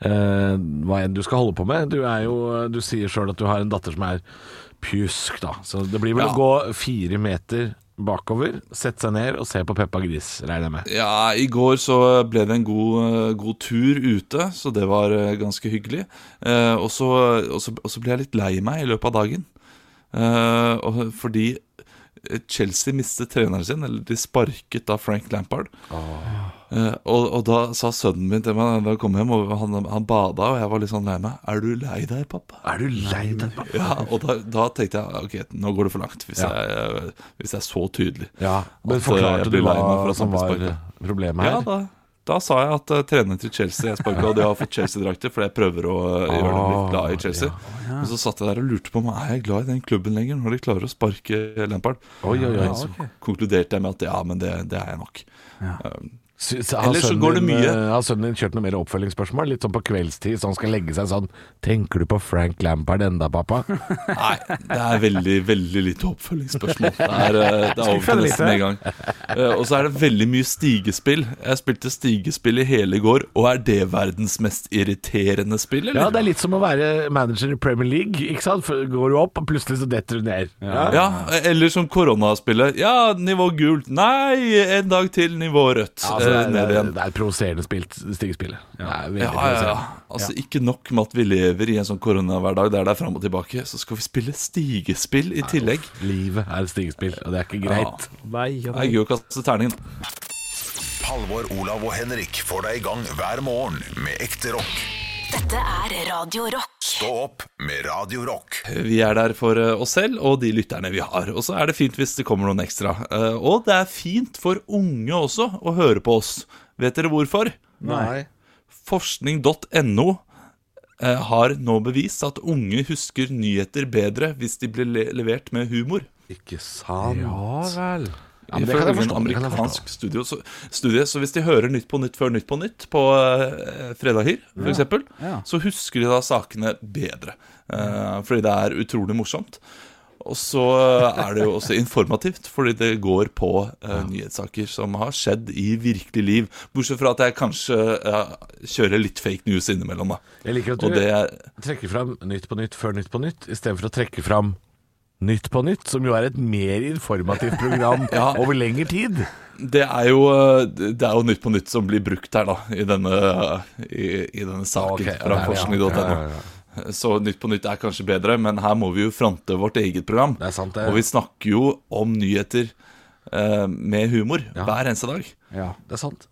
[SPEAKER 3] eh, hva enn du skal holde på med. Du, er jo, du sier sjøl at du har en datter som er pjusk, da. Så det blir vel
[SPEAKER 6] Ja.
[SPEAKER 3] å gå fire meter bakover, sette seg ned og se på Peppa Gris, regner jeg med.
[SPEAKER 6] Ja, i går så ble det en god, eh, god tur ute, så det var eh, ganske hyggelig. Eh, og, så, og, så, og så ble jeg litt lei meg i løpet av dagen. Eh, og, fordi Chelsea mistet treneren sin, eller de sparket da Frank Lampard.
[SPEAKER 3] Ah.
[SPEAKER 6] Eh, og, og da sa sønnen min til meg da jeg kom hjem, og han, han bada, og jeg var litt sånn lei meg. Er du lei deg, pappa?
[SPEAKER 3] Er du lei deg? pappa?
[SPEAKER 6] Ja, og da, da tenkte jeg ok, nå går det for langt, hvis,
[SPEAKER 3] Ja.
[SPEAKER 6] jeg, eh, hvis jeg er så tydelig.
[SPEAKER 3] Ja, men
[SPEAKER 6] At, eh, jeg
[SPEAKER 3] forklarte du
[SPEAKER 6] blir lei meg for
[SPEAKER 3] hva
[SPEAKER 6] at
[SPEAKER 3] som
[SPEAKER 6] han
[SPEAKER 3] var
[SPEAKER 6] ble sparket.
[SPEAKER 3] problemet her?
[SPEAKER 6] Ja, da, da sa jeg at uh, treneren til Chelsea Jeg sparka, og de har fått Chelsea-drakter fordi jeg prøver å eh, gjøre dem litt glad i Chelsea. Og så satt jeg der og lurte på om er jeg glad i den klubben lenger, når de klarer å sparke Lampard.
[SPEAKER 3] Oi, oi, oi.
[SPEAKER 6] Ja, Så konkluderte jeg med at ja, men det, det er jeg nok.
[SPEAKER 3] Sy- sy- har
[SPEAKER 6] Ellers så
[SPEAKER 3] sønnen
[SPEAKER 6] går det
[SPEAKER 3] din,
[SPEAKER 6] mye.
[SPEAKER 3] eh, Har sønnen din kjørt noe mer oppfølgingsspørsmål? Litt sånn på kveldstid, så han skal legge seg sånn Tenker du på Frank Lampard enda,
[SPEAKER 6] [laughs]
[SPEAKER 3] pappa?
[SPEAKER 6] Nei, det er veldig, veldig lite oppfølgingsspørsmål. Det er, eh, det er over til nesten en gang. Eh, Og så er det veldig mye stigespill. Jeg spilte stigespill i hele går, og er det verdens mest irriterende spill, eller?
[SPEAKER 3] Ja, det er litt som å være manager i Premier League, ikke sant? For Går du opp, og plutselig så detter du ned. Ja.
[SPEAKER 6] Ja, eller som koronaspillet. Ja, nivå gult. Nei, en dag til nivå rødt.
[SPEAKER 3] Altså, det,
[SPEAKER 6] Eh,
[SPEAKER 3] er,
[SPEAKER 6] Ned
[SPEAKER 3] det, er,
[SPEAKER 6] igjen.
[SPEAKER 3] det er provoserende spilt, stigespillet. Ja.
[SPEAKER 6] Ja, ja, ja. Altså, Ikke nok med at vi lever i en sånn koronahverdag der det er fram og tilbake, så skal vi spille stigespill i tillegg.
[SPEAKER 3] Livet er et stigespill, og det er ikke
[SPEAKER 6] Ja.
[SPEAKER 3] greit.
[SPEAKER 6] Det er gøy å kaste terningen.
[SPEAKER 1] Halvor, Olav og Henrik får deg i gang hver morgen med ekte rock.
[SPEAKER 2] Dette er Radio Rock.
[SPEAKER 1] Stå opp med Radio Rock.
[SPEAKER 6] Vi er der for eh, oss selv og de lytterne vi har. Og så er det fint hvis det kommer noen ekstra. Eh, Og det er fint for unge også å høre på oss. Vet dere hvorfor?
[SPEAKER 4] Nei.
[SPEAKER 6] Forskning.no eh, har nå bevist at unge husker nyheter bedre hvis de blir le levert med humor.
[SPEAKER 3] Ikke sant?
[SPEAKER 4] Ja vel.
[SPEAKER 3] Ja, men det kan
[SPEAKER 6] Ifølge
[SPEAKER 3] jeg
[SPEAKER 6] en
[SPEAKER 3] forstå. Det kan jeg forstå.
[SPEAKER 6] amerikansk studie, så, studie. Så hvis de hører Nytt på Nytt før Nytt på Nytt på eh, fredager, for eksempel,
[SPEAKER 4] Ja.
[SPEAKER 6] så husker de da sakene bedre. eh, fordi det er utrolig morsomt. Og så er det jo også informativt, fordi det går på eh, nyhetssaker som har skjedd i virkelig liv. Bortsett fra at jeg kanskje eh, kjører litt fake news innimellom, da.
[SPEAKER 3] Jeg liker at
[SPEAKER 6] Og
[SPEAKER 3] du
[SPEAKER 6] det er
[SPEAKER 3] trekker fram Nytt på Nytt før Nytt på Nytt, istedenfor å trekke fram Nytt på nytt, som jo er et mer informativt program
[SPEAKER 6] [laughs] Ja.
[SPEAKER 3] over lengre tid.
[SPEAKER 6] Det er, jo, eh, det er jo Nytt på Nytt som blir brukt her, da, i denne, eh, i, i denne saken
[SPEAKER 3] Ok, ja,
[SPEAKER 6] fra
[SPEAKER 3] ja,
[SPEAKER 6] forskning.no.
[SPEAKER 3] ja, ja, ja.
[SPEAKER 6] Så Nytt på Nytt er kanskje bedre, men her må vi jo fronte vårt eget program.
[SPEAKER 3] Det er sant, det.
[SPEAKER 6] Og vi snakker jo om nyheter eh, med humor hver eneste dag.
[SPEAKER 4] Ja.
[SPEAKER 3] Det er sant.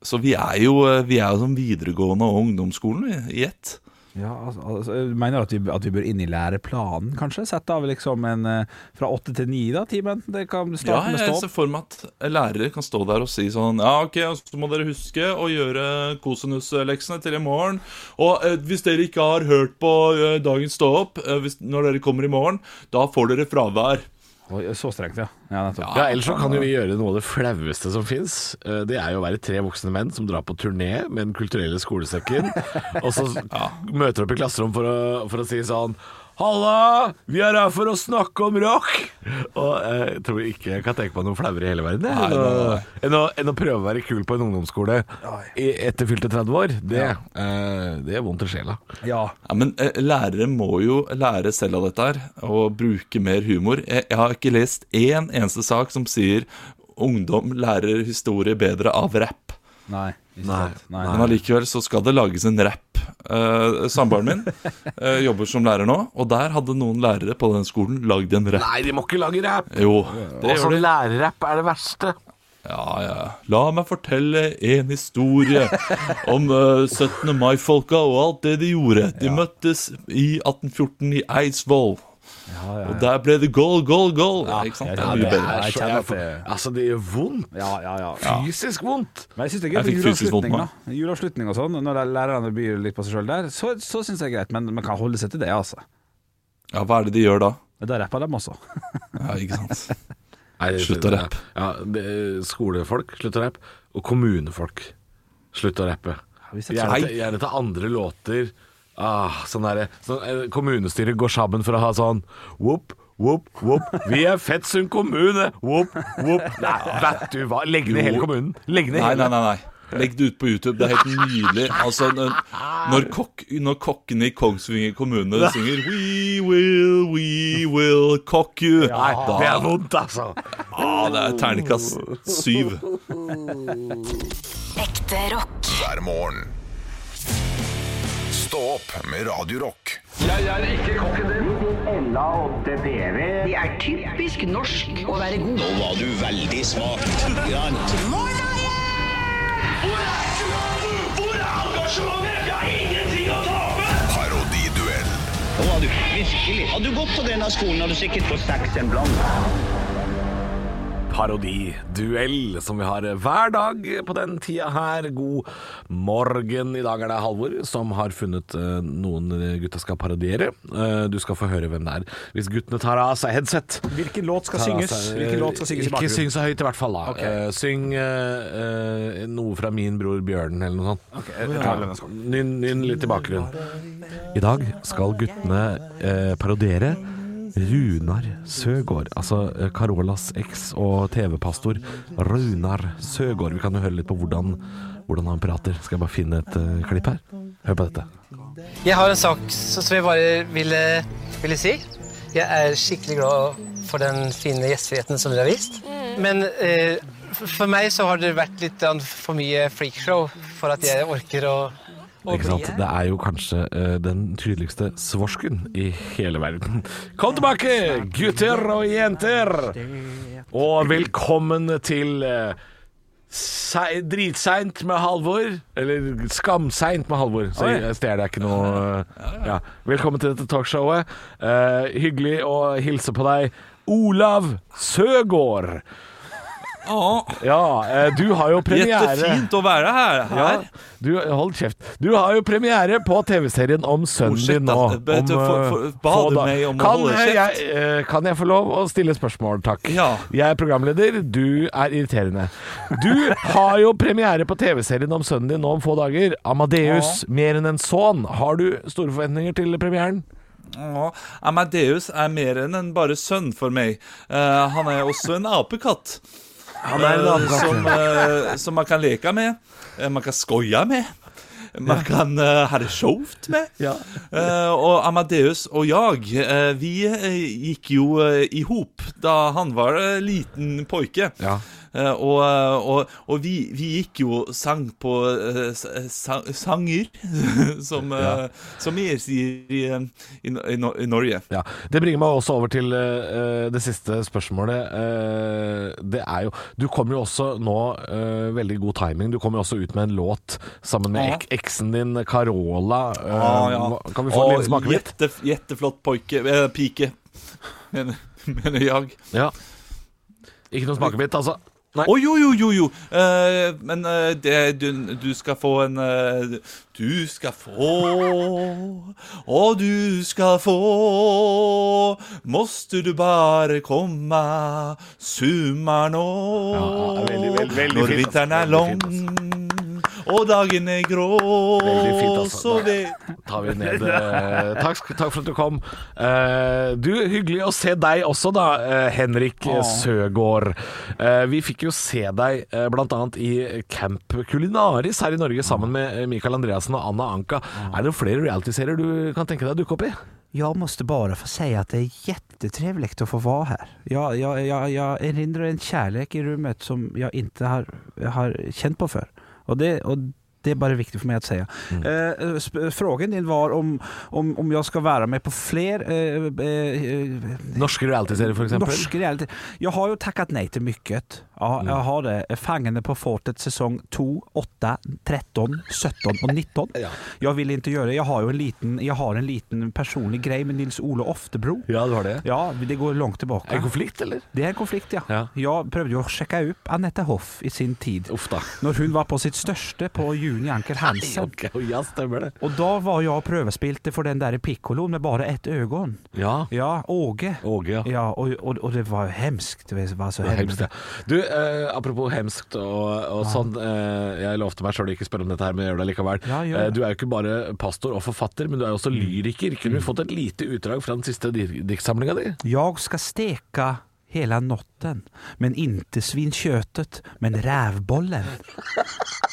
[SPEAKER 6] Så vi er jo, eh, vi er jo som videregående og ungdomsskolen i i ett.
[SPEAKER 4] Ja, altså, altså, jeg mener at vi, at vi bør inn i læreplanen, kanskje? Sette av liksom en eh, fra åtte til ni da, timen? Det kan
[SPEAKER 6] Ja,
[SPEAKER 4] starte med
[SPEAKER 6] jeg
[SPEAKER 4] stå
[SPEAKER 6] ser
[SPEAKER 4] opp.
[SPEAKER 6] for meg at lærere kan stå der og si sånn Ja, ok, så må dere huske å gjøre kosinusleksene til i morgen. Og eh, hvis dere ikke har hørt på eh, dagens stå opp eh, hvis, når dere kommer i morgen, da får dere fravær.
[SPEAKER 4] Oi, Så strengt, ja. Ja, nettopp.
[SPEAKER 3] Ja, Ellers så kan jo vi gjøre noe av det flaueste som fins. Det er jo å være tre voksne menn som drar på turné med Den kulturelle [laughs] skolesekken, og så møter opp i klasserom for å, for å si sånn Halla! Vi er her for å snakke om rock! Og eh, jeg tror ikke jeg kan tenke på noe flauere i hele verden jeg, enn, å, enn, å, enn å prøve å være kul på en ungdomsskole i, etter fylte 30 år. Det, eh, det er vondt i sjela.
[SPEAKER 4] Ja.
[SPEAKER 6] Ja, Men eh, lærere må jo lære selv av dette her, og bruke mer humor. Jeg, jeg har ikke lest én eneste sak som sier 'ungdom lærer historie bedre av rap'.
[SPEAKER 4] Nei. ikke sant. Nei.
[SPEAKER 6] Men allikevel så skal det lages en rapp. Eh, Samboeren min [laughs] eh, jobber som lærer nå, og der hadde noen lærere på den skolen lagd en rapp.
[SPEAKER 3] Nei, de må ikke lage rap!
[SPEAKER 6] Jo, det
[SPEAKER 3] Og
[SPEAKER 6] gjør
[SPEAKER 3] sånn
[SPEAKER 6] de.
[SPEAKER 3] lærerrapp er det verste.
[SPEAKER 6] Ja, ja. La meg fortelle en historie [laughs] om eh, 17. mai-folka og alt det de gjorde. De møttes i 1814 i Eidsvoll. Og der ble det goal, goal, goal. Ja, ikke sant? Det
[SPEAKER 4] ja,
[SPEAKER 6] er mye
[SPEAKER 4] det er-
[SPEAKER 6] bedre.
[SPEAKER 4] jeg
[SPEAKER 3] så-
[SPEAKER 4] kjenner at
[SPEAKER 3] får-
[SPEAKER 4] det-
[SPEAKER 3] Altså, det gjør vondt.
[SPEAKER 4] Ja, ja, ja.
[SPEAKER 3] Fysisk vondt.
[SPEAKER 4] Men jeg syns det er gøy
[SPEAKER 6] Jeg
[SPEAKER 4] med
[SPEAKER 6] fikk fysisk vondt
[SPEAKER 4] juleavslutning,
[SPEAKER 6] nå.
[SPEAKER 4] da. Juleavslutning og sånn, når lærerne byr litt på seg sjøl der, så, så syns jeg det er greit. Men man kan holde seg til det, altså.
[SPEAKER 6] Ja, hva er det de gjør da?
[SPEAKER 4] Da rapper de også.
[SPEAKER 6] Ja, ikke sant?
[SPEAKER 3] Nei, det-
[SPEAKER 6] Slutt å rappe.
[SPEAKER 3] Ja, det, skolefolk, slutt å rappe. Og kommunefolk, slutt å rappe.
[SPEAKER 4] vi setter-
[SPEAKER 3] Gjerne, til- gjerne til andre låter. Ah, sånn derre- sånn, eh, kommunestyret går sammen for å ha sånn Whoop, whoop, whoop. Vi er Fettsund kommune! Whoop, whoop. Nei, vet du hva. Legg ned hele kommunen. Legg ned
[SPEAKER 6] Nei, nei,
[SPEAKER 3] hele.
[SPEAKER 6] nei. nei. Legg det ut på YouTube. Det er helt nydelig. Altså, når, når, kokk, når kokkene i Kongsvinger kommune synger We will, we will cock you. da,
[SPEAKER 3] Det er vondt, altså.
[SPEAKER 6] ah, det er terningkast syv.
[SPEAKER 2] Ekte rock.
[SPEAKER 1] hver morgen. Stå opp med Radio Rock.
[SPEAKER 10] Det er typisk norsk å være god.
[SPEAKER 1] Parodiduell
[SPEAKER 10] Nå var du virkelig. Hadde du gått på denne skolen, hadde du sikkert fått seks en blant.
[SPEAKER 3] Parodiduell som vi har hver dag på den tida her. God morgen. I dag er det Halvor som har funnet eh, noen gutta skal parodiere. Eh, du skal få høre hvem det er. Hvis guttene tar av seg headset
[SPEAKER 4] Hvilken låt skal
[SPEAKER 3] Tar av
[SPEAKER 4] synges?
[SPEAKER 3] seg-
[SPEAKER 4] Hvilken låt skal synges
[SPEAKER 3] altså,
[SPEAKER 4] i
[SPEAKER 3] Ikke
[SPEAKER 4] bakgrunnen?
[SPEAKER 3] syng så høyt, i hvert fall. da Eh, Syng eh, eh, noe fra min bror Bjørnen, eller noe sånt. Eh, Nynn nynn litt i bakgrunnen. I dag skal guttene eh, parodiere Runar Søgaard, altså eh, Carolas eks og TV-pastor Runar Søgaard. Vi kan jo høre litt på hvordan, hvordan han prater. Skal jeg bare finne et eh, klipp her? Hør på dette.
[SPEAKER 10] Jeg har en sak som jeg bare ville, si. Jeg er skikkelig glad for den fine gjestfriheten som dere har vist. Men eh, for meg så har det vært litt for mye freakshow for at jeg orker å,
[SPEAKER 3] Ikke sant? Det er jo kanskje eh, den tydeligste svorsken i hele verden. Kom tilbake, gutter og jenter! Og velkommen til eh, sei- Dritseint med Halvor. Eller Skamseint med Halvor. Så jeg stjeler ikke noe eh, ja. Velkommen til dette talkshowet. Eh, hyggelig å hilse på deg, Olav Søgaard. Ja, eh, du har jo premiere
[SPEAKER 6] Jettefint å være her.
[SPEAKER 3] ja,
[SPEAKER 6] her.
[SPEAKER 3] du, hold kjeft. Du har jo premiere på TV-serien om sønnen
[SPEAKER 6] Oh, shit,
[SPEAKER 3] din nå.
[SPEAKER 6] da. Jeg vet,
[SPEAKER 3] Om,
[SPEAKER 6] for-
[SPEAKER 3] eh,
[SPEAKER 6] for- ba
[SPEAKER 3] få
[SPEAKER 6] du
[SPEAKER 3] da-
[SPEAKER 6] meg om å
[SPEAKER 3] kan,
[SPEAKER 6] holde
[SPEAKER 3] eh,
[SPEAKER 6] kjeft?
[SPEAKER 3] Jeg, eh, kan jeg få lov å stille spørsmål, takk?
[SPEAKER 6] Ja.
[SPEAKER 3] Jeg er programleder, du er irriterende. Du har jo premiere på TV-serien om sønnen din nå om få dager. Amadeus, mer enn en sønn. Har du store forventninger til premieren?
[SPEAKER 6] Ja, Amadeus er mer enn en bare sønn for meg. Eh, han er også en apekatt.
[SPEAKER 3] Han er en
[SPEAKER 6] Eh, som, eh, som man kan leke med. eh, man kan skoie med. man kan eh, ha det sjovt med. Eh, og Amadeus og jeg, eh, vi eh, gikk jo uh, i hop da han var eh, liten pojke. Eh, og eh, og, og vi, vi gikk jo sang på eh, s- eh, sang, sanger, [laughs] som, eh, som vi sier i, eh, i, Nor- i, Nor- i Norge.
[SPEAKER 3] Ja, Det bringer meg også over til eh, det siste spørsmålet. Eh, det er jo Du kommer jo også nå eh, Veldig god timing. Du kommer jo også ut med en låt sammen med
[SPEAKER 6] Ja.
[SPEAKER 3] ek eksen din, Carola. Eh,
[SPEAKER 6] Ah, ja.
[SPEAKER 3] hva- Kan vi få en liten
[SPEAKER 6] Og
[SPEAKER 3] smakebit?
[SPEAKER 6] jette, jetteflott pojke, eh, pike, mener, [laughs] mener jeg.
[SPEAKER 3] Ja. Ikke noen smakebit, altså? Nei.
[SPEAKER 6] Å, jo, jo, jo, jo. Eh, men eh, det, du, du skal få en eh, Du skal få, og du skal få. Måste du bare komme, summer nå.
[SPEAKER 3] Ja, ja, veldig, veldig, veldig
[SPEAKER 6] Når
[SPEAKER 3] fint,
[SPEAKER 6] vinteren
[SPEAKER 3] altså.
[SPEAKER 6] er
[SPEAKER 3] Veldig
[SPEAKER 6] lang.
[SPEAKER 3] fint, altså.
[SPEAKER 6] Og dagen er grå,
[SPEAKER 3] Veldig fint, altså.
[SPEAKER 6] så vet
[SPEAKER 3] tar vi ned eh, takk, sk- takk for at du kom. Eh, du, hyggelig å se deg også, da, eh, Henrik eh, Søgaard. Eh, vi fikk jo se deg eh, blant annet i Camp Culinaris her i Norge sammen med eh, Mikael Andreassen og Anna Anka. Er det flere realityserier du kan tenke deg å dukke opp i?
[SPEAKER 4] Jag måste bara få säga att det är jättetrevligt att få vara här. Jag, jag, jag, jag erindrar en kärlek i rummet som jag inte har, har känt på förr. Och det, och det är bara viktigt för mig att säga. Eh,
[SPEAKER 3] Mm.
[SPEAKER 4] sp- frågan din var om, om, om jag ska vara med på fler eh, eh,
[SPEAKER 3] Norske realityserier, for eksempel? Mm.
[SPEAKER 4] Norsk reality. Jeg har jo takket nei til mykket. Ja, jeg har det. 'Fangene på fortet' sesong 2, 8, 13, 17 og 19. Jeg vil ikke gjøre det. Jeg har jo en liten, jeg har en liten personlig greie med Nils Ole Oftebro.
[SPEAKER 3] Ja, du har det.
[SPEAKER 4] Ja, det går langt
[SPEAKER 3] Er det
[SPEAKER 4] tilbake.
[SPEAKER 3] konflikt, eller?
[SPEAKER 4] Det er en konflikt, ja.
[SPEAKER 3] Ja.
[SPEAKER 4] Jeg prøvde jo å sjekke opp Anette Hoff i sin tid.
[SPEAKER 3] Uff da.
[SPEAKER 4] Når hun var på sitt største på Juni Anker Hansen.
[SPEAKER 3] [laughs] Ja, stemmer det.
[SPEAKER 4] Og da var jeg og prøvespilte for den der pikkoloen med bare ett øye.
[SPEAKER 3] Ja.
[SPEAKER 4] Ja, Åge.
[SPEAKER 3] Åge, ja.
[SPEAKER 4] Ja, og, og, og det var jo hemskt. Det var så
[SPEAKER 3] Det er hemskt,
[SPEAKER 4] hemskt.
[SPEAKER 3] ja. Du, eh, apropos hemskt og, og sånn eh, Jeg lovte meg sjøl å ikke spørre om dette her, men jeg gjør det likevel.
[SPEAKER 4] Ja, gjør det. Mm.
[SPEAKER 3] Eh, du er jo ikke bare pastor og forfatter, men du er jo også lyriker. Kunne vi fått et lite utdrag fra den siste di- diktsamlinga di?
[SPEAKER 4] Jag ska steka hela natten, men inte svinköttet, men rävbollen.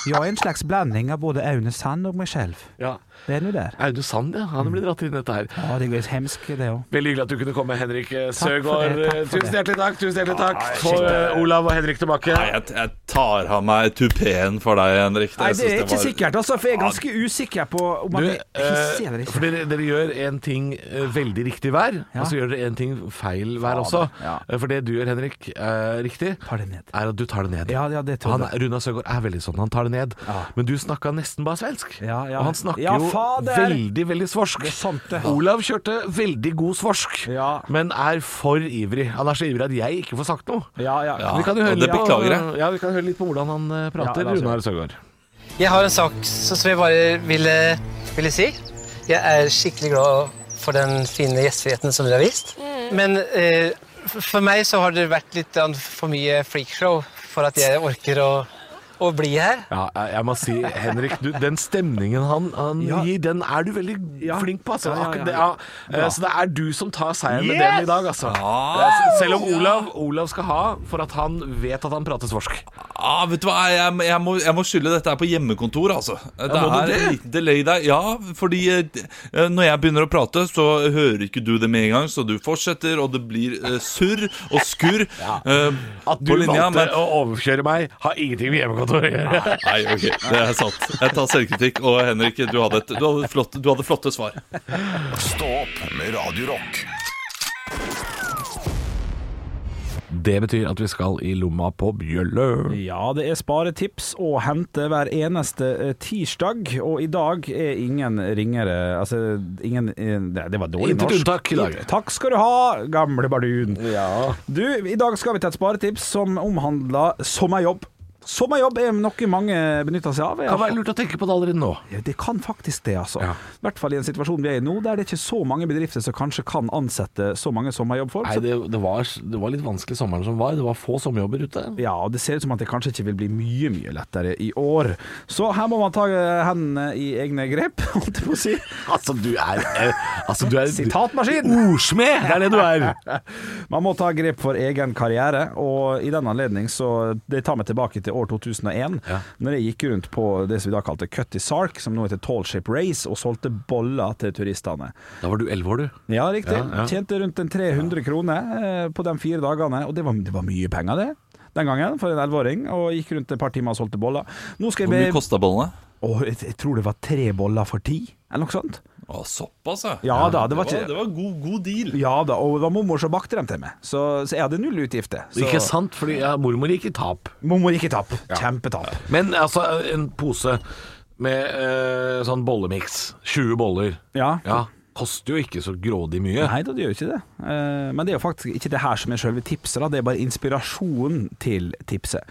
[SPEAKER 4] Jag är en slags blandning av både Aune Sand og meg selv.
[SPEAKER 3] Ja.
[SPEAKER 4] Det er nu der.
[SPEAKER 3] Aune Sand, ja. Han blir dratt inn i dette her.
[SPEAKER 4] Ja, det er hemskt det òg.
[SPEAKER 3] Veldig hyggelig at du kunne komme, Henrik eh,
[SPEAKER 4] Takk for
[SPEAKER 3] Søgaard.
[SPEAKER 4] det, takk
[SPEAKER 3] Eh,
[SPEAKER 4] for
[SPEAKER 3] Tusen
[SPEAKER 4] det.
[SPEAKER 3] hjertelig takk. Tusen hjertelig takk. Få eh, Olav og Henrik tilbake.
[SPEAKER 6] Nei, jeg, jeg tar av meg tupeen for deg, Henrik.
[SPEAKER 4] Nei, det
[SPEAKER 6] synes
[SPEAKER 4] er ikke
[SPEAKER 6] var-
[SPEAKER 4] sikkert, altså, for jeg er ganske usikker på om
[SPEAKER 3] Du,
[SPEAKER 4] man
[SPEAKER 3] eh,
[SPEAKER 4] er hissig eller
[SPEAKER 3] for
[SPEAKER 4] ikke.
[SPEAKER 3] dere, dere gjør en ting eh, veldig riktig hver,
[SPEAKER 4] Ja.
[SPEAKER 3] og så gjør dere en ting feil hver også.
[SPEAKER 4] Fader, ja.
[SPEAKER 3] Eh, For det du gjør, Henrik, eh, riktig,
[SPEAKER 4] Tar det ned.
[SPEAKER 3] er at du tar det ned.
[SPEAKER 4] Ja, ja, det tror
[SPEAKER 3] han,
[SPEAKER 4] jeg.
[SPEAKER 3] er- Runa Søgaard er veldig sånn, han tar det ned.
[SPEAKER 4] Ja.
[SPEAKER 3] Men du snakka nesten bare svensk.
[SPEAKER 4] Ja, ja.
[SPEAKER 3] Og han snakker
[SPEAKER 4] Ja,
[SPEAKER 3] jo
[SPEAKER 4] fader!
[SPEAKER 3] veldig, veldig svorsk.
[SPEAKER 4] Det er sant, det.
[SPEAKER 3] Olav kjørte veldig god svorsk,
[SPEAKER 4] Ja.
[SPEAKER 3] men er for ivrig. Han er så ivrig at jeg ikke får sagt noe.
[SPEAKER 4] Ja, ja.
[SPEAKER 6] Ja,
[SPEAKER 3] Vi kan jo høre
[SPEAKER 6] og det
[SPEAKER 3] litt på-
[SPEAKER 6] beklager jeg.
[SPEAKER 3] Ja, vi kan høre litt på hvordan han eh, prater,
[SPEAKER 4] la oss høre.
[SPEAKER 3] Runar Søgaard.
[SPEAKER 10] Jeg har en sak som jeg bare ville, ville si. Jeg er skikkelig glad for den fine gjestfriheten som dere har vist. Men eh, f- for meg så har det vært litt grann for mye freakshow for at jeg orker å, å bli her.
[SPEAKER 3] Ja, jeg jeg må si, Henrik, du, den stemningen han, han
[SPEAKER 4] Ja.
[SPEAKER 3] gir, den er du veldig
[SPEAKER 4] Ja.
[SPEAKER 3] flink på. Altså.
[SPEAKER 4] Ja, ja, ja,
[SPEAKER 3] Akkurat
[SPEAKER 4] ja.
[SPEAKER 3] det, ja. Eh, Så det er du som tar seieren med den i dag, altså.
[SPEAKER 6] Ja.
[SPEAKER 3] Selv om Olav, Olav skal ha for at han vet at han prater svorsk.
[SPEAKER 6] Ah, vet du hva, jeg, jeg, må, jeg må skylde dette her på hjemmekontor, altså. Det
[SPEAKER 3] må
[SPEAKER 6] er
[SPEAKER 3] du
[SPEAKER 6] en
[SPEAKER 3] det?
[SPEAKER 6] liten delay der. Ja, fordi eh, når jeg begynner å prate, så hører ikke du det med en gang, så du fortsetter, og det blir eh, surr
[SPEAKER 3] [laughs]
[SPEAKER 6] og skurr eh,
[SPEAKER 3] At du
[SPEAKER 6] på linja.
[SPEAKER 3] valgte
[SPEAKER 6] Men
[SPEAKER 3] å overkjøre meg, har ingenting med hjemmekontoret å gjøre.
[SPEAKER 6] Nei, ok, det er sant. Jeg tar selvkritikk. Og Henrik, du hadde, et, du hadde, et flott, du hadde flotte svar.
[SPEAKER 1] Stå opp med Radio Rock.
[SPEAKER 3] Det betyr at vi skal i lomma på bjølle.
[SPEAKER 4] Ja, det er sparetips å hente hver eneste eh, tirsdag, og i dag er ingen ringere Altså, ingen eh, Det det var dårlig
[SPEAKER 3] Intet
[SPEAKER 4] norsk.
[SPEAKER 3] unntak i dag.
[SPEAKER 4] Takk skal du ha, gamle bardun.
[SPEAKER 3] Ja.
[SPEAKER 4] Du, i dag skal vi til et sparetips som omhandler sommerjobb. Sommerjobb er noe mange benytter seg av.
[SPEAKER 3] Kan være lurt å tenke på det allerede nå.
[SPEAKER 4] Ja, det kan faktisk det, altså.
[SPEAKER 3] Ja.
[SPEAKER 4] I hvert fall i en situasjon vi er i nå, der det ikke er så mange bedrifter som kanskje kan ansette så mange sommerjobbfolk.
[SPEAKER 3] Nei,
[SPEAKER 4] Så-
[SPEAKER 3] det, det, var, det var litt vanskelig sommeren som var. Det var få sommerjobber ute.
[SPEAKER 4] Ja, og det ser ut som at det kanskje ikke vil bli mye, mye lettere i år. Så her må man ta eh, hendene i egne grep, [laughs] holdt jeg på å si.
[SPEAKER 3] Altså, du er, eh, altså, du er
[SPEAKER 4] Sitatmaskin!
[SPEAKER 3] Ordsmed! Det er det du
[SPEAKER 4] [laughs]
[SPEAKER 3] er.
[SPEAKER 4] Man må ta grep for egen karriere, og i den anledning så Det tar meg tilbake til år 2001, når jeg gikk rundt på det som vi da kalte Cutty Sark, som nå heter Tall Ship Race, og solgte boller til turistene.
[SPEAKER 3] Da var du elleve år, du.
[SPEAKER 4] Ja, riktig.
[SPEAKER 3] Ja, ja.
[SPEAKER 4] Tjente rundt en 300 kroner eh, på de fire dagene, og det var, det var mye penger, det. Den gangen, for en elleveåring, og gikk rundt et par timer og solgte boller. Nå skal
[SPEAKER 6] Hvor mye
[SPEAKER 4] jeg be...
[SPEAKER 6] kosta bollene?
[SPEAKER 4] Åh, jeg, jeg tror det var tre boller for ti, eller noe sånt.
[SPEAKER 6] Å, såpass,
[SPEAKER 4] Ja da, det var
[SPEAKER 6] det var,
[SPEAKER 4] ikke-
[SPEAKER 6] det var god, god deal.
[SPEAKER 4] Ja da, og det var mormor som bakte dem til meg, så, så jeg hadde null utgifter. Så
[SPEAKER 3] Ikke sant, fordi ja, mormor gikk i tap.
[SPEAKER 4] mormor gikk i tap. Kjempetap.
[SPEAKER 3] Men altså, en pose med eh, sånn bollemiks, 20 boller,
[SPEAKER 4] Ja.
[SPEAKER 3] ja, koster jo ikke så grådig mye.
[SPEAKER 4] Nei da, det gjør jo ikke det. Eh, Men det er jo faktisk ikke det her som er selve tipset, da. det er bare inspirasjonen til tipset.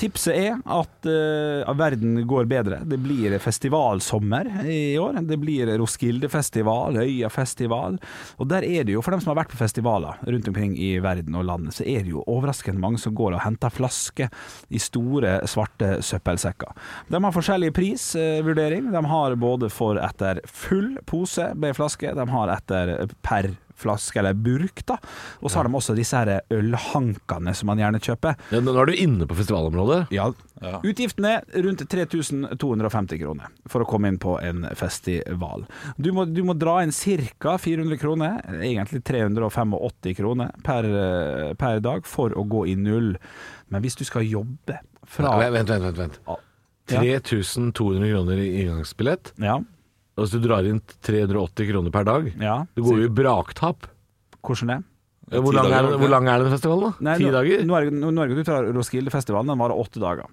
[SPEAKER 4] Tipset er at eh, verden går bedre. Det blir festivalsommer i år. Det blir Roskilde-festival, Øya-festival. Og der er det jo, for dem som har vært på festivaler rundt omkring i verden og landet, så er det jo overraskende mange som går og henter flasker i store, svarte søppelsekker. De har forskjellige prisvurdering. De har både for etter full pose med flaske, de har etter per flaske eller burk, da. Og så har de også disse her ølhankene som man gjerne kjøper.
[SPEAKER 3] Ja, nå er du inne på festivalområdet.
[SPEAKER 4] Ja. Utgiftene er rundt 3250 kroner for å komme inn på en festival. Du må, du må dra inn ca. 400 kroner, egentlig 385 kroner per, eh, per dag, for å gå i null. Men hvis du skal jobbe fra
[SPEAKER 3] Nei, Vent, vent, vent. vent. 3200 kroner i inngangsbillett.
[SPEAKER 4] Ja,
[SPEAKER 3] Og hvis du drar inn 380 kroner per dag,
[SPEAKER 4] ja.
[SPEAKER 3] det går jo i braktap.
[SPEAKER 4] Hvordan det?
[SPEAKER 3] Ja, Hvor
[SPEAKER 6] Ti
[SPEAKER 3] lang,
[SPEAKER 6] dager,
[SPEAKER 3] er,
[SPEAKER 6] var det?
[SPEAKER 3] hvor lang er den festivalen, da? Ti
[SPEAKER 4] nå,
[SPEAKER 3] dager?
[SPEAKER 4] Nå er, nå, nå er det ut fra Roskilde-festivalen, den varer åtte dager.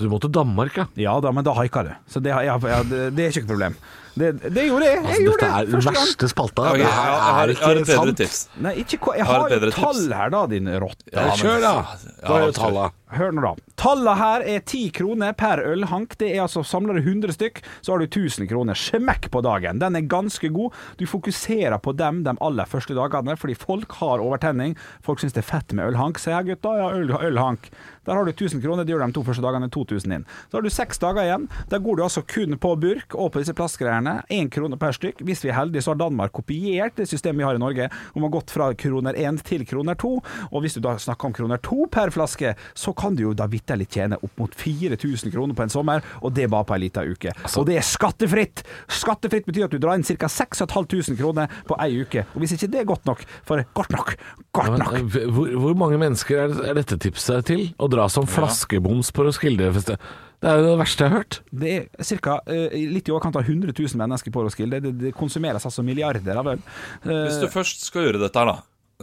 [SPEAKER 3] Så du må til Danmark, ja. Altså,
[SPEAKER 4] Ja da, men da haika du. Så det, har- ja, ja, det, det er ikke noe problem. Det, det gjorde jeg! Jeg
[SPEAKER 3] Altså,
[SPEAKER 4] gjorde
[SPEAKER 3] dette
[SPEAKER 4] det!
[SPEAKER 3] er den
[SPEAKER 4] første gang.
[SPEAKER 3] verste spalta.
[SPEAKER 6] Ok,
[SPEAKER 3] Det
[SPEAKER 6] jeg,
[SPEAKER 3] her
[SPEAKER 6] har- jeg har,
[SPEAKER 3] er
[SPEAKER 6] jeg har
[SPEAKER 3] ikke
[SPEAKER 6] et bedre
[SPEAKER 3] sant.
[SPEAKER 6] tips.
[SPEAKER 4] Nei, ikke, ko- jeg
[SPEAKER 6] Har
[SPEAKER 4] har,
[SPEAKER 6] et bedre
[SPEAKER 4] jo tall
[SPEAKER 6] tips.
[SPEAKER 4] her, da, din rotte.
[SPEAKER 6] Ja, men-
[SPEAKER 3] Kjør, da!
[SPEAKER 6] Ja,
[SPEAKER 3] Hva er
[SPEAKER 6] kjør.
[SPEAKER 3] talla?
[SPEAKER 4] Hør nå, da. Tallene her er ti kroner per ølhank. Det er altså Samler du 100 stykk, så har du 1000 kroner. Smekk på dagen. Den er ganske god. Du fokuserer på dem de aller første dagene, fordi folk har overtenning. Folk syns det er fett med ølhank. Se her, gutta. Ja, øl, ølhank. Der har du 1000 kroner. Det gjør de to første dagene 2000 inn. Så har du seks dager igjen. Der går du altså kun på burk og på disse plastgreiene. Én krone per stykk. Hvis vi er heldige, så har Danmark kopiert det systemet vi har i Norge, og man har gått fra kroner én til kroner to. Og hvis du da snakker om kroner to per flaske, så kan du jo da vitterlig tjene opp mot 4000 kroner på en sommer, og det bare på ei lita uke.
[SPEAKER 3] Altså-
[SPEAKER 4] og det er skattefritt! Skattefritt betyr at du drar inn ca. 6500 kroner på ei uke. Og hvis ikke det er godt nok, for godt nok,
[SPEAKER 3] Ja,
[SPEAKER 4] godt
[SPEAKER 3] men,
[SPEAKER 4] nok
[SPEAKER 3] eh, Hvor, hvor mange mennesker er, er dette tipset til? Å dra som flaskeboms på Roskildefestet? Det er jo det verste jeg har hørt.
[SPEAKER 4] Det er ca. litt i overkant av 100 000 mennesker på Roskilde. Det, det konsumeres altså milliarder av øl. Eh,
[SPEAKER 6] Hvis du først skal gjøre dette her, da.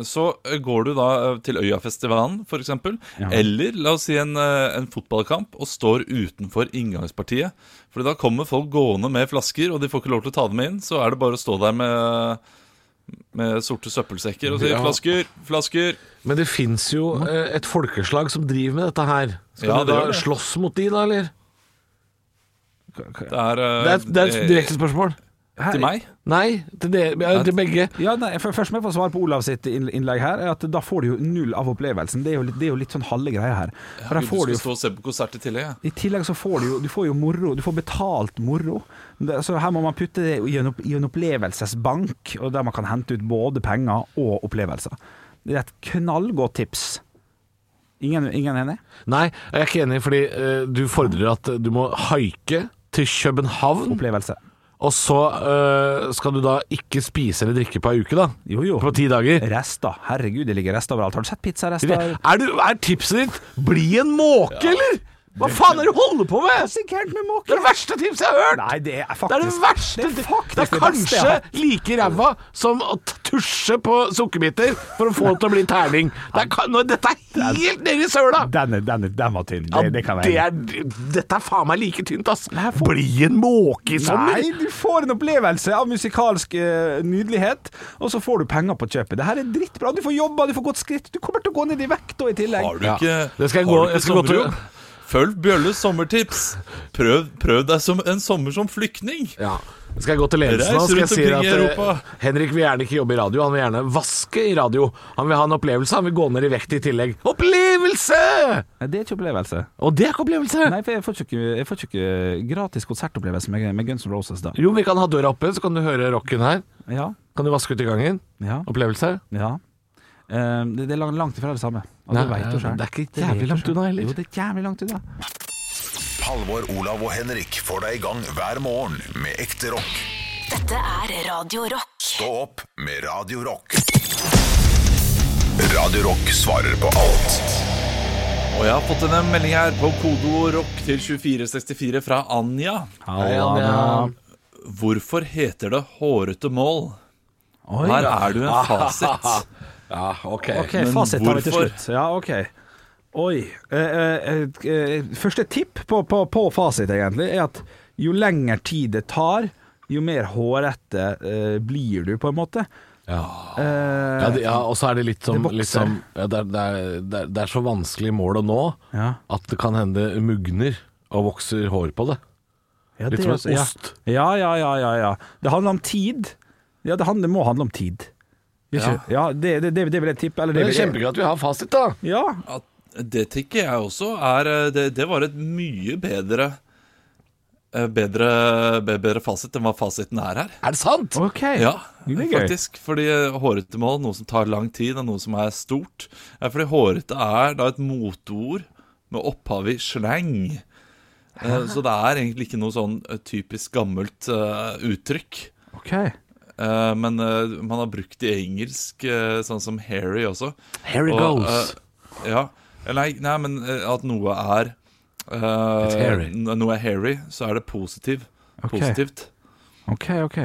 [SPEAKER 6] Så eh, går du da eh, til Øyafestivalen f.eks., eksempel eller la oss si en, eh, en fotballkamp, og står utenfor inngangspartiet. Fordi da kommer folk gående med flasker, og de får ikke lov til å ta dem inn. Så er det bare å stå der med, med sorte søppelsekker og si
[SPEAKER 3] Ja.
[SPEAKER 6] 'flasker, flasker'.
[SPEAKER 3] Men det fins jo eh, et folkeslag som driver med dette her. Skal
[SPEAKER 6] Ja,
[SPEAKER 3] du
[SPEAKER 6] det
[SPEAKER 3] da
[SPEAKER 6] gjør det.
[SPEAKER 3] slåss mot de, da, eller?
[SPEAKER 6] Det er, eh,
[SPEAKER 3] Det er, det er et direkte spørsmål.
[SPEAKER 6] eh, til meg.
[SPEAKER 3] Nei, til, dere, ja, til begge.
[SPEAKER 4] Ja, nei, for Først må jeg få svare på Olav sitt inn- innlegg her. er at Da får du jo null av opplevelsen. Det er jo, litt- det er jo litt sånn halve greia her. For da
[SPEAKER 6] Gud, du
[SPEAKER 4] får du
[SPEAKER 6] skal
[SPEAKER 4] jo
[SPEAKER 6] stå og se på konsert i tillegg. Ja.
[SPEAKER 4] i tillegg så får du jo, du får jo moro, du får betalt moro. Det, så her må man putte det i en, opp- i en opplevelsesbank, og der man kan hente ut både penger og opplevelser. Det er et knallgodt tips. Ingen, ingen enig?
[SPEAKER 3] Nei, jeg er ikke enig, fordi eh, du fordrer at du må haike til København,
[SPEAKER 4] Opplevelse.
[SPEAKER 3] og så eh, skal du da ikke spise eller drikke på ei uke, da.
[SPEAKER 4] Jo, jo.
[SPEAKER 3] På ti dager.
[SPEAKER 4] Rester. Herregud, det ligger rester overalt. Har du sett pizzarester?
[SPEAKER 3] Er, du, er tipset ditt 'bli en måke', eller? Hva faen er det du holder på med?! Det
[SPEAKER 4] Sikkert
[SPEAKER 3] er det
[SPEAKER 4] med måker.
[SPEAKER 3] verste tipset jeg har hørt!
[SPEAKER 4] Nei, det er
[SPEAKER 3] det
[SPEAKER 4] faktisk
[SPEAKER 3] er det verste
[SPEAKER 4] Det er faktisk
[SPEAKER 3] Det er
[SPEAKER 4] det beste jeg
[SPEAKER 3] kanskje
[SPEAKER 4] har hørt.
[SPEAKER 3] like ræva som å t- tusje på sukkerbiter for å få det til å bli en terning. Det er, kan- nå- dette er helt nede i søla!
[SPEAKER 4] Den, er- den, er- den var tynn.
[SPEAKER 3] Ja,
[SPEAKER 4] Det, det kan være.
[SPEAKER 3] det er, dette er faen meg like tynt, ass. Bli en måke i sommer!
[SPEAKER 4] Nei, du får en opplevelse av musikalsk eh, nydelighet, og så får du penger på kjøpet. Det her er drittbra. Du får jobba, du får gått skritt. Du kommer til å gå ned i vekt da, i tillegg.
[SPEAKER 6] Har du
[SPEAKER 3] Ja.
[SPEAKER 6] ikke,
[SPEAKER 3] Det skal jeg
[SPEAKER 6] har
[SPEAKER 3] gå-
[SPEAKER 6] du ikke
[SPEAKER 3] jeg skal gå til-
[SPEAKER 6] sommerjobb? Følg Bjølles sommertips. Prøv, prøv deg som en sommer som flyktning.
[SPEAKER 3] Ja. Skal jeg gå til ledelsen
[SPEAKER 6] Reis
[SPEAKER 3] og skal jeg
[SPEAKER 6] rundt
[SPEAKER 3] si at
[SPEAKER 6] omkring i Europa.
[SPEAKER 3] eh, Henrik vil gjerne ikke jobbe i radio, han vil gjerne vaske i radio. Han vil ha en opplevelse, han vil gå ned i vekt i tillegg. Opplevelse!
[SPEAKER 4] Nei, det er ikke opplevelse.
[SPEAKER 3] Og det er ikke opplevelse!
[SPEAKER 4] Nei, for jeg får ikke, jeg får ikke eh, gratis konsertopplevelse med, med Guns N' Roses, da.
[SPEAKER 3] Jo, vi kan ha døra oppe, så kan du høre rocken her.
[SPEAKER 4] Ja.
[SPEAKER 3] Kan du vaske ut i gangen?
[SPEAKER 4] Ja.
[SPEAKER 3] Opplevelse?
[SPEAKER 4] ja. Eh, det, det er lang- langt ifra det samme. Og
[SPEAKER 3] Nei,
[SPEAKER 4] det vet
[SPEAKER 3] ja,
[SPEAKER 4] du selv.
[SPEAKER 3] det er ikke
[SPEAKER 4] vet
[SPEAKER 3] jævlig
[SPEAKER 4] du
[SPEAKER 3] langt
[SPEAKER 4] selv.
[SPEAKER 3] unna heller.
[SPEAKER 4] Jo, det er jævlig langt unna.
[SPEAKER 1] Halvor, Olav og Henrik får deg i gang hver morgen med ekte rock.
[SPEAKER 2] Dette er Radio Rock.
[SPEAKER 1] Stå opp med Radio Rock. Radio Rock svarer på alt.
[SPEAKER 6] Og jeg har fått en melding her på kodeord rock til 2464 fra Anja. Hvorfor heter det hårete mål?
[SPEAKER 4] Oi.
[SPEAKER 6] Her
[SPEAKER 3] [laughs]
[SPEAKER 6] er det jo en fasit.
[SPEAKER 3] Ja, ok.
[SPEAKER 4] OK,
[SPEAKER 6] Men
[SPEAKER 4] fasit tar vi til
[SPEAKER 6] hvorfor?
[SPEAKER 4] slutt. Ja, OK. Oi. Eh, eh, eh, første tipp på, på, på fasit, egentlig, er at jo lengre tid det tar, jo mer hårete eh, blir du, på en måte. Eh,
[SPEAKER 3] Ja, det, ja, og så er det litt som
[SPEAKER 4] Det vokser.
[SPEAKER 3] litt som- ja, det, er, det, er, det, er, det er så vanskelig mål å nå
[SPEAKER 4] Ja.
[SPEAKER 3] at det kan hende det mugner og vokser hår på det.
[SPEAKER 4] ja,
[SPEAKER 3] litt
[SPEAKER 4] det
[SPEAKER 3] som en
[SPEAKER 4] også, ja.
[SPEAKER 3] ost.
[SPEAKER 4] Ja, ja, ja, ja, ja. Det handler om tid. Ja, det, handler, det må handle om tid. Ikke? Ja, det, det, det, det vil jeg tippe. Eller det
[SPEAKER 3] Det er
[SPEAKER 4] vil jeg-
[SPEAKER 3] kjempegøy at vi har fasit, da.
[SPEAKER 4] Ja,
[SPEAKER 6] At det tenker jeg også er eh, Det, det var et mye bedre eh, Bedre, be- bedre fasit enn hva fasiten er her.
[SPEAKER 3] Er det sant?
[SPEAKER 4] OK.
[SPEAKER 6] Ja,
[SPEAKER 4] Det er gøy.
[SPEAKER 6] faktisk. Fordi eh, hårete mål, noe som tar lang tid, og noe som er stort. Eh, Fordi hårete er da et motord med opphav i slang. Eh, Så det er egentlig ikke noe sånn eh, typisk gammelt eh, uttrykk.
[SPEAKER 4] Ok.
[SPEAKER 6] Eh, men eh, man har brukt det i engelsk, eh, sånn som hairy også.
[SPEAKER 3] Hairy goes.
[SPEAKER 6] eh, ja. Nei, nei, men eh, at noe er eh,
[SPEAKER 3] It's hairy.
[SPEAKER 6] n- Noe er hairy, så er det positiv.
[SPEAKER 4] Ok.
[SPEAKER 6] Positivt.
[SPEAKER 4] OK, OK.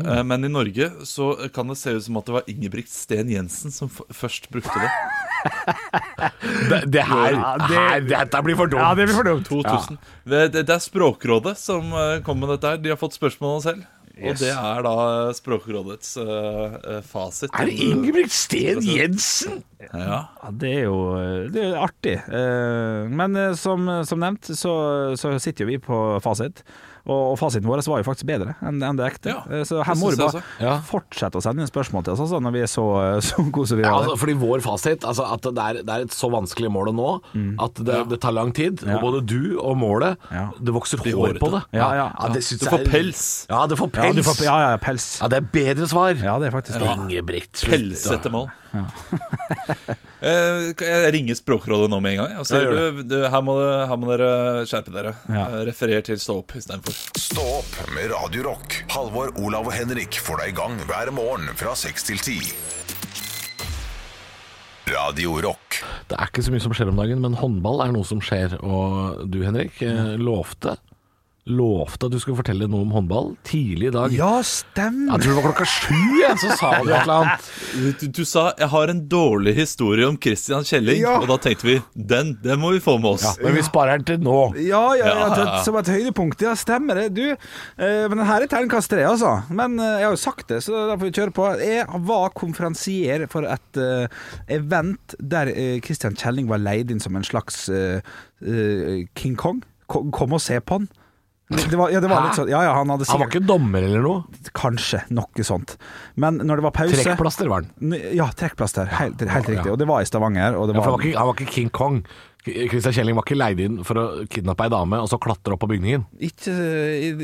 [SPEAKER 6] Eh, men i Norge så kan det se ut som at det var Ingebrigt Sten Jensen som f først brukte det.
[SPEAKER 3] Det, det her,
[SPEAKER 4] Ja, det-
[SPEAKER 3] her Dette blir for dumt.
[SPEAKER 4] Ja, det blir for dumt.
[SPEAKER 6] 2000. Det, det, det er Språkrådet som eh, kom med dette her. De har fått spørsmålene selv. Og det er da eh, Språkrådets eh, eh, fasit.
[SPEAKER 3] Er det Ingebrigt Sten Jensen?
[SPEAKER 6] Ja.
[SPEAKER 4] Ja, det er jo det er jo artig. Eh, Men eh, som, som nevnt, så, så sitter jo vi på fasit. Og, og fasiten vår var jo faktisk bedre enn enn det ekte.
[SPEAKER 6] Ja,
[SPEAKER 4] Eh, så her
[SPEAKER 6] det
[SPEAKER 4] må
[SPEAKER 6] synes
[SPEAKER 4] du
[SPEAKER 6] jeg
[SPEAKER 4] bare
[SPEAKER 6] også.
[SPEAKER 3] Ja.
[SPEAKER 4] fortsette å sende inn spørsmål til oss altså, når vi er så, så koser vi
[SPEAKER 3] Ja,
[SPEAKER 4] av
[SPEAKER 3] altså,
[SPEAKER 4] det.
[SPEAKER 3] fordi vår fasit altså, at det er, det er et så vanskelig mål å nå at det, det tar lang tid. Og både du og målet
[SPEAKER 4] Mm. Ja.
[SPEAKER 3] Det vokser hår
[SPEAKER 6] hårete.
[SPEAKER 3] på det.
[SPEAKER 4] Ja, ja.
[SPEAKER 3] det syns
[SPEAKER 6] Du
[SPEAKER 3] jeg
[SPEAKER 6] får
[SPEAKER 3] er-
[SPEAKER 6] pels.
[SPEAKER 3] Ja, det får
[SPEAKER 4] Ja,
[SPEAKER 3] pels.
[SPEAKER 4] du får, ja, ja, pels.
[SPEAKER 3] Ja, det er bedre svar.
[SPEAKER 4] Ja, det er faktisk det.
[SPEAKER 3] Ingebrigt. slutt,
[SPEAKER 6] Pelsete mål. [laughs] Eh, kan jeg ringer Språkrådet nå med en gang. Og så,
[SPEAKER 3] Ja, gjør
[SPEAKER 6] du, du, her, må, du- her må dere skjerpe dere.
[SPEAKER 4] Ja.
[SPEAKER 6] Eh, Referer til Stå opp istedenfor.
[SPEAKER 1] Stå opp med Radio Rock. Halvor, Olav og Henrik får deg i gang hver morgen fra 6 til 10. Radio Rock.
[SPEAKER 3] da. Det er ikke så mye som skjer om dagen, men håndball er noe som skjer. Og du, Henrik, eh, lovte Lovte at du skulle fortelle noe om håndball tidlig i dag.
[SPEAKER 4] Ja, stemmer!
[SPEAKER 3] Jeg tror det var klokka sju, jeg, så sa du et eller annet.
[SPEAKER 6] Du, du sa 'jeg har en dårlig historie om Christian Kjelling', og da tenkte vi 'den den må vi få med oss'.
[SPEAKER 3] Men vi sparer den til nå.
[SPEAKER 4] Ja, ja, ja,
[SPEAKER 6] Ja, ja,
[SPEAKER 4] til- som et høydepunkt. Ja, stemmer det. Du, eh, men den her er terningkast tre, altså. Men eh, jeg har jo sagt det, så da får vi kjøre på. Jeg var konferansier for et eh, event der eh, Christian Kjelling var leid inn som en slags eh, eh, King Kong. Ko- Kom og se på han. Det var, ja, det var
[SPEAKER 3] Hæ?
[SPEAKER 4] litt sånn, ja, ja, han hadde
[SPEAKER 3] Han var
[SPEAKER 4] sikkert
[SPEAKER 3] ikke dommer eller noe.
[SPEAKER 4] Kanskje noe sånt. Men når det var pause
[SPEAKER 3] Trekkplaster var han.
[SPEAKER 4] N- Ja, trekkplaster. Helt, helt riktig. Og det var i Stavanger. Og det
[SPEAKER 3] Ja,
[SPEAKER 4] var,
[SPEAKER 3] for han, var ikke, han var ikke King Kong. Christian Kjelling var ikke leid inn for å kidnappe ei dame og så klatre opp på bygningen.
[SPEAKER 4] ikke,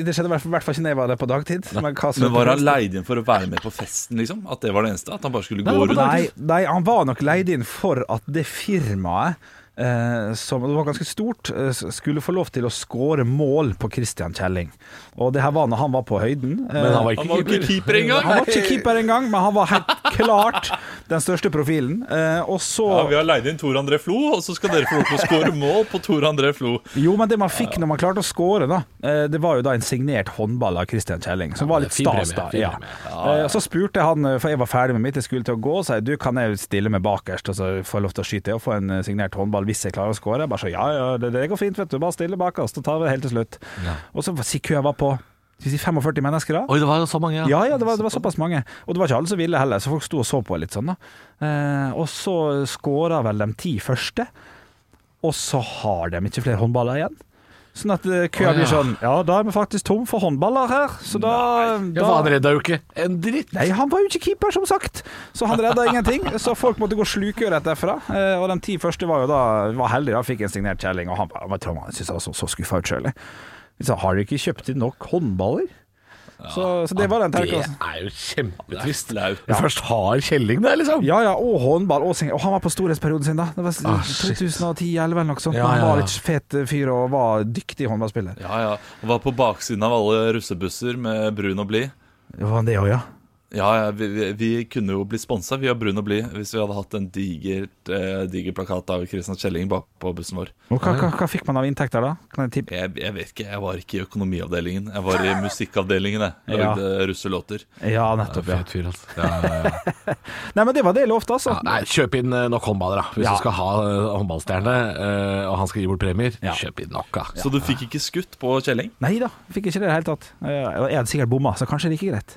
[SPEAKER 4] det skjedde i hvert fall- i hvert fall ikke da jeg var der på dagtid. Men, hva som-
[SPEAKER 6] Men var han leid inn for å være med på festen, liksom? At det var det eneste? At han bare skulle gå rundt?
[SPEAKER 4] Nei, nei, han var nok leid inn for at det firmaet eh, som det var ganske stort, eh, skulle få lov til å skåre mål på Christian Kjelling. Og det her var når han var på høyden. Eh,
[SPEAKER 3] Men han var
[SPEAKER 6] Han
[SPEAKER 3] ikke
[SPEAKER 6] var jo
[SPEAKER 3] keeper.
[SPEAKER 6] ikke keeper engang!
[SPEAKER 4] han var ikke keeper engang, men han var helt klart den største profilen. Eh, og så
[SPEAKER 6] Ja, vi har leid inn Tor André Flo, og så skal dere få lov til å score mål på Tor André Flo.
[SPEAKER 4] Jo, men det man fikk når man klarte å score, da, eh, det var jo da en signert håndball av Christian Kjelling, som var
[SPEAKER 3] det er
[SPEAKER 4] litt
[SPEAKER 3] fin
[SPEAKER 4] stas,
[SPEAKER 3] premie,
[SPEAKER 4] da.
[SPEAKER 3] fin
[SPEAKER 4] Ja.
[SPEAKER 3] premie.
[SPEAKER 4] Eh, Så spurte jeg han, eh, for jeg var ferdig med mitt, jeg skulle til å gå, og sa jeg, du, kan jeg stille meg bakerst, og så får jeg lov til å skyte og få en eh, signert håndball hvis jeg klarer å score? Jeg bare så, ja, ja, det, det går fint, vet du, bare stille bakerst, og ta det helt til slutt. Og så si køa var på, skal vi si 45 mennesker da?
[SPEAKER 3] Oi, det var så mange,
[SPEAKER 4] Ja, ja, det var, det var såpass mange. Og det var ikke alle som ville heller, så folk sto og så på litt sånn, da. Eh, og så skåra vel de ti første, og så har de ikke flere håndballer igjen. Sånn at eh, køa
[SPEAKER 3] Å,
[SPEAKER 4] blir
[SPEAKER 3] ja.
[SPEAKER 4] sånn Ja, da er vi faktisk tom for håndballer her, så da,
[SPEAKER 3] Ja,
[SPEAKER 4] da
[SPEAKER 3] for han redda jo ikke en dritt.
[SPEAKER 4] Nei, han var jo ikke keeper, som sagt, så han redda ingenting. Så folk måtte gå slukøret rett derfra. Eh, og de ti første var jo da var heldige, da fikk en signert Kjelling, eh?" og han, var- han var- jeg synes han var så, så skuffa ut sjøl. Har dere ikke kjøpt inn nok håndballer? Så, så det var den
[SPEAKER 3] Det
[SPEAKER 4] terningkasten.
[SPEAKER 3] er jo kjempetrist.
[SPEAKER 6] Det er flaut.
[SPEAKER 3] Du først har Kjelling der, liksom.
[SPEAKER 4] Ja, ja, og håndball. Og, seng- og han var på storhetsperioden sin, da. Det var
[SPEAKER 3] Ah, shit.
[SPEAKER 4] 2010-2011 eller noe sånt.
[SPEAKER 3] Ja,
[SPEAKER 4] Han
[SPEAKER 3] ja, ja.
[SPEAKER 4] var litt fet fyr og var dyktig håndballspiller.
[SPEAKER 6] Ja, ja. Han var på baksiden av alle russebusser med brun og blid.
[SPEAKER 4] Var han det òg, ja?
[SPEAKER 6] Ja, ja, vi, vi, vi kunne jo bli sponsa via Brun og Blid hvis vi hadde hatt en diger, eh, diger plakat av Christian Kjelling bak på bussen vår.
[SPEAKER 4] Og hva, hva, hva fikk man av inntekter da? Kan jeg tippe?
[SPEAKER 6] Jeg, jeg vet ikke, jeg var ikke i økonomiavdelingen. Jeg var i musikkavdelingen, jeg. Jeg
[SPEAKER 4] Ja.
[SPEAKER 6] lagde russelåter.
[SPEAKER 4] Ja, nettopp. ja
[SPEAKER 3] Fet fyr, altså. Ja, ja, ja.
[SPEAKER 4] Nei, men det var det jeg lovte, altså.
[SPEAKER 3] Ja, nei, kjøp inn eh, nok håndballer, da. Hvis
[SPEAKER 4] Ja.
[SPEAKER 3] du skal ha eh, håndballstjerne, eh, og han skal gi bort premier, kjøp inn nok, da. [laughs]
[SPEAKER 6] Så du fikk ikke skutt på Kjelling?
[SPEAKER 4] Nei da, fikk ikke det i det hele tatt. Eh, Jeg hadde sikkert bomma, så kanskje like greit.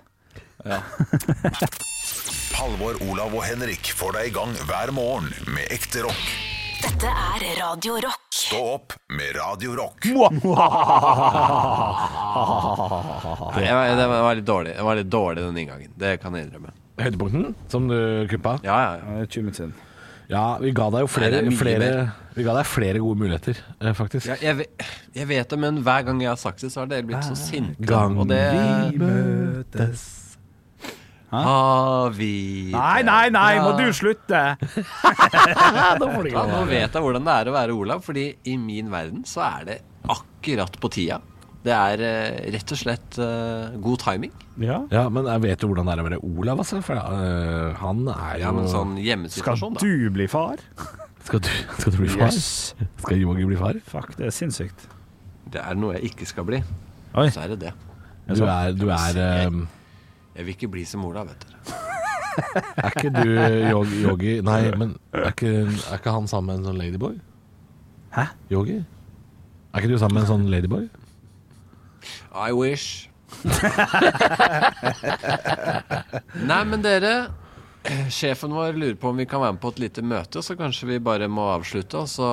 [SPEAKER 1] Halvor, Olav og Henrik får deg i gang hver morgen med ekte rock.
[SPEAKER 2] Dette er Radio Rock.
[SPEAKER 1] Stå opp med Radio Rock.
[SPEAKER 5] Nei, jeg, var- det var litt dårlig Det var litt dårlig den inngangen. Det kan jeg innrømme.
[SPEAKER 3] Høydepunkten som du kuppa?
[SPEAKER 5] Ja, ja, ja.
[SPEAKER 4] 20 minutter siden.
[SPEAKER 3] Ja, vi ga deg jo
[SPEAKER 5] Nei,
[SPEAKER 3] flere,
[SPEAKER 5] det er mye
[SPEAKER 3] flere, vi ga deg flere gode muligheter, eh, faktisk.
[SPEAKER 5] Jeg, jeg, ve- jeg vet det, men hver gang jeg har sagt det, så har dere blitt så sinte.
[SPEAKER 3] Gang
[SPEAKER 5] Og det
[SPEAKER 4] Vi møtes
[SPEAKER 5] har vi
[SPEAKER 4] Nei, nei, nei, må du slutte!
[SPEAKER 5] Ja, nå vet jeg hvordan det er å være Olav, fordi i min verden så er det akkurat på tida. Det er eh, rett og slett eh, god timing.
[SPEAKER 4] Ja.
[SPEAKER 3] Ja, men jeg vet jo hvordan det er å være Olav, altså. For eh, han er jo
[SPEAKER 5] Ja, men sånn
[SPEAKER 4] Skal
[SPEAKER 5] hjemmesituasjon, da.
[SPEAKER 4] du bli far?
[SPEAKER 3] skal, du, skal du bli far? Skal Yogi bli far?
[SPEAKER 4] Fuck, det er sinnssykt.
[SPEAKER 5] Det er noe jeg ikke skal bli.
[SPEAKER 4] Oi.
[SPEAKER 5] Så er det det.
[SPEAKER 3] Du er, du er eh,
[SPEAKER 5] Jeg vil ikke bli som Olav, vet dere.
[SPEAKER 3] Er ikke du Yogi, yogi Nei, men er ikke, er ikke han sammen med en sånn ladyboy?
[SPEAKER 4] Hæ?
[SPEAKER 3] Yogi? Er ikke du sammen med en sånn ladyboy?
[SPEAKER 5] I wish. [laughs] Nei, men dere. eh, Sjefen vår lurer på om vi kan være med på et lite møte, så kanskje vi bare må avslutte, og så,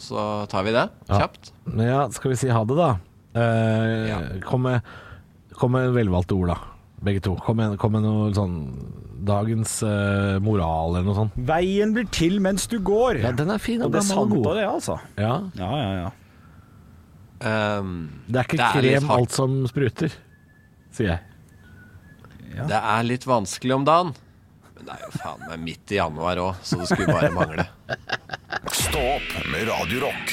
[SPEAKER 5] så tar vi det
[SPEAKER 3] Ja.
[SPEAKER 5] kjapt.
[SPEAKER 3] Men ja, skal vi si ha det, da? Eh, Kom med Kom med velvalgte ord, da. Begge to. Kom med, kom med noe sånn Dagens eh, moral, eller noe sånt.
[SPEAKER 4] Veien blir til mens du går.
[SPEAKER 3] Ja, den er fin.
[SPEAKER 4] og det er sant av det, altså.
[SPEAKER 3] Ja.
[SPEAKER 4] Ja, ja, ja.
[SPEAKER 5] Um,
[SPEAKER 3] Det er ikke
[SPEAKER 5] Det er litt
[SPEAKER 3] krem
[SPEAKER 5] hardt.
[SPEAKER 3] alt som spruter, sier jeg.
[SPEAKER 5] Det er litt vanskelig om dagen. Men det er jo faen meg midt i januar òg, så det skulle bare mangle.
[SPEAKER 1] Stå opp med Radio Rock.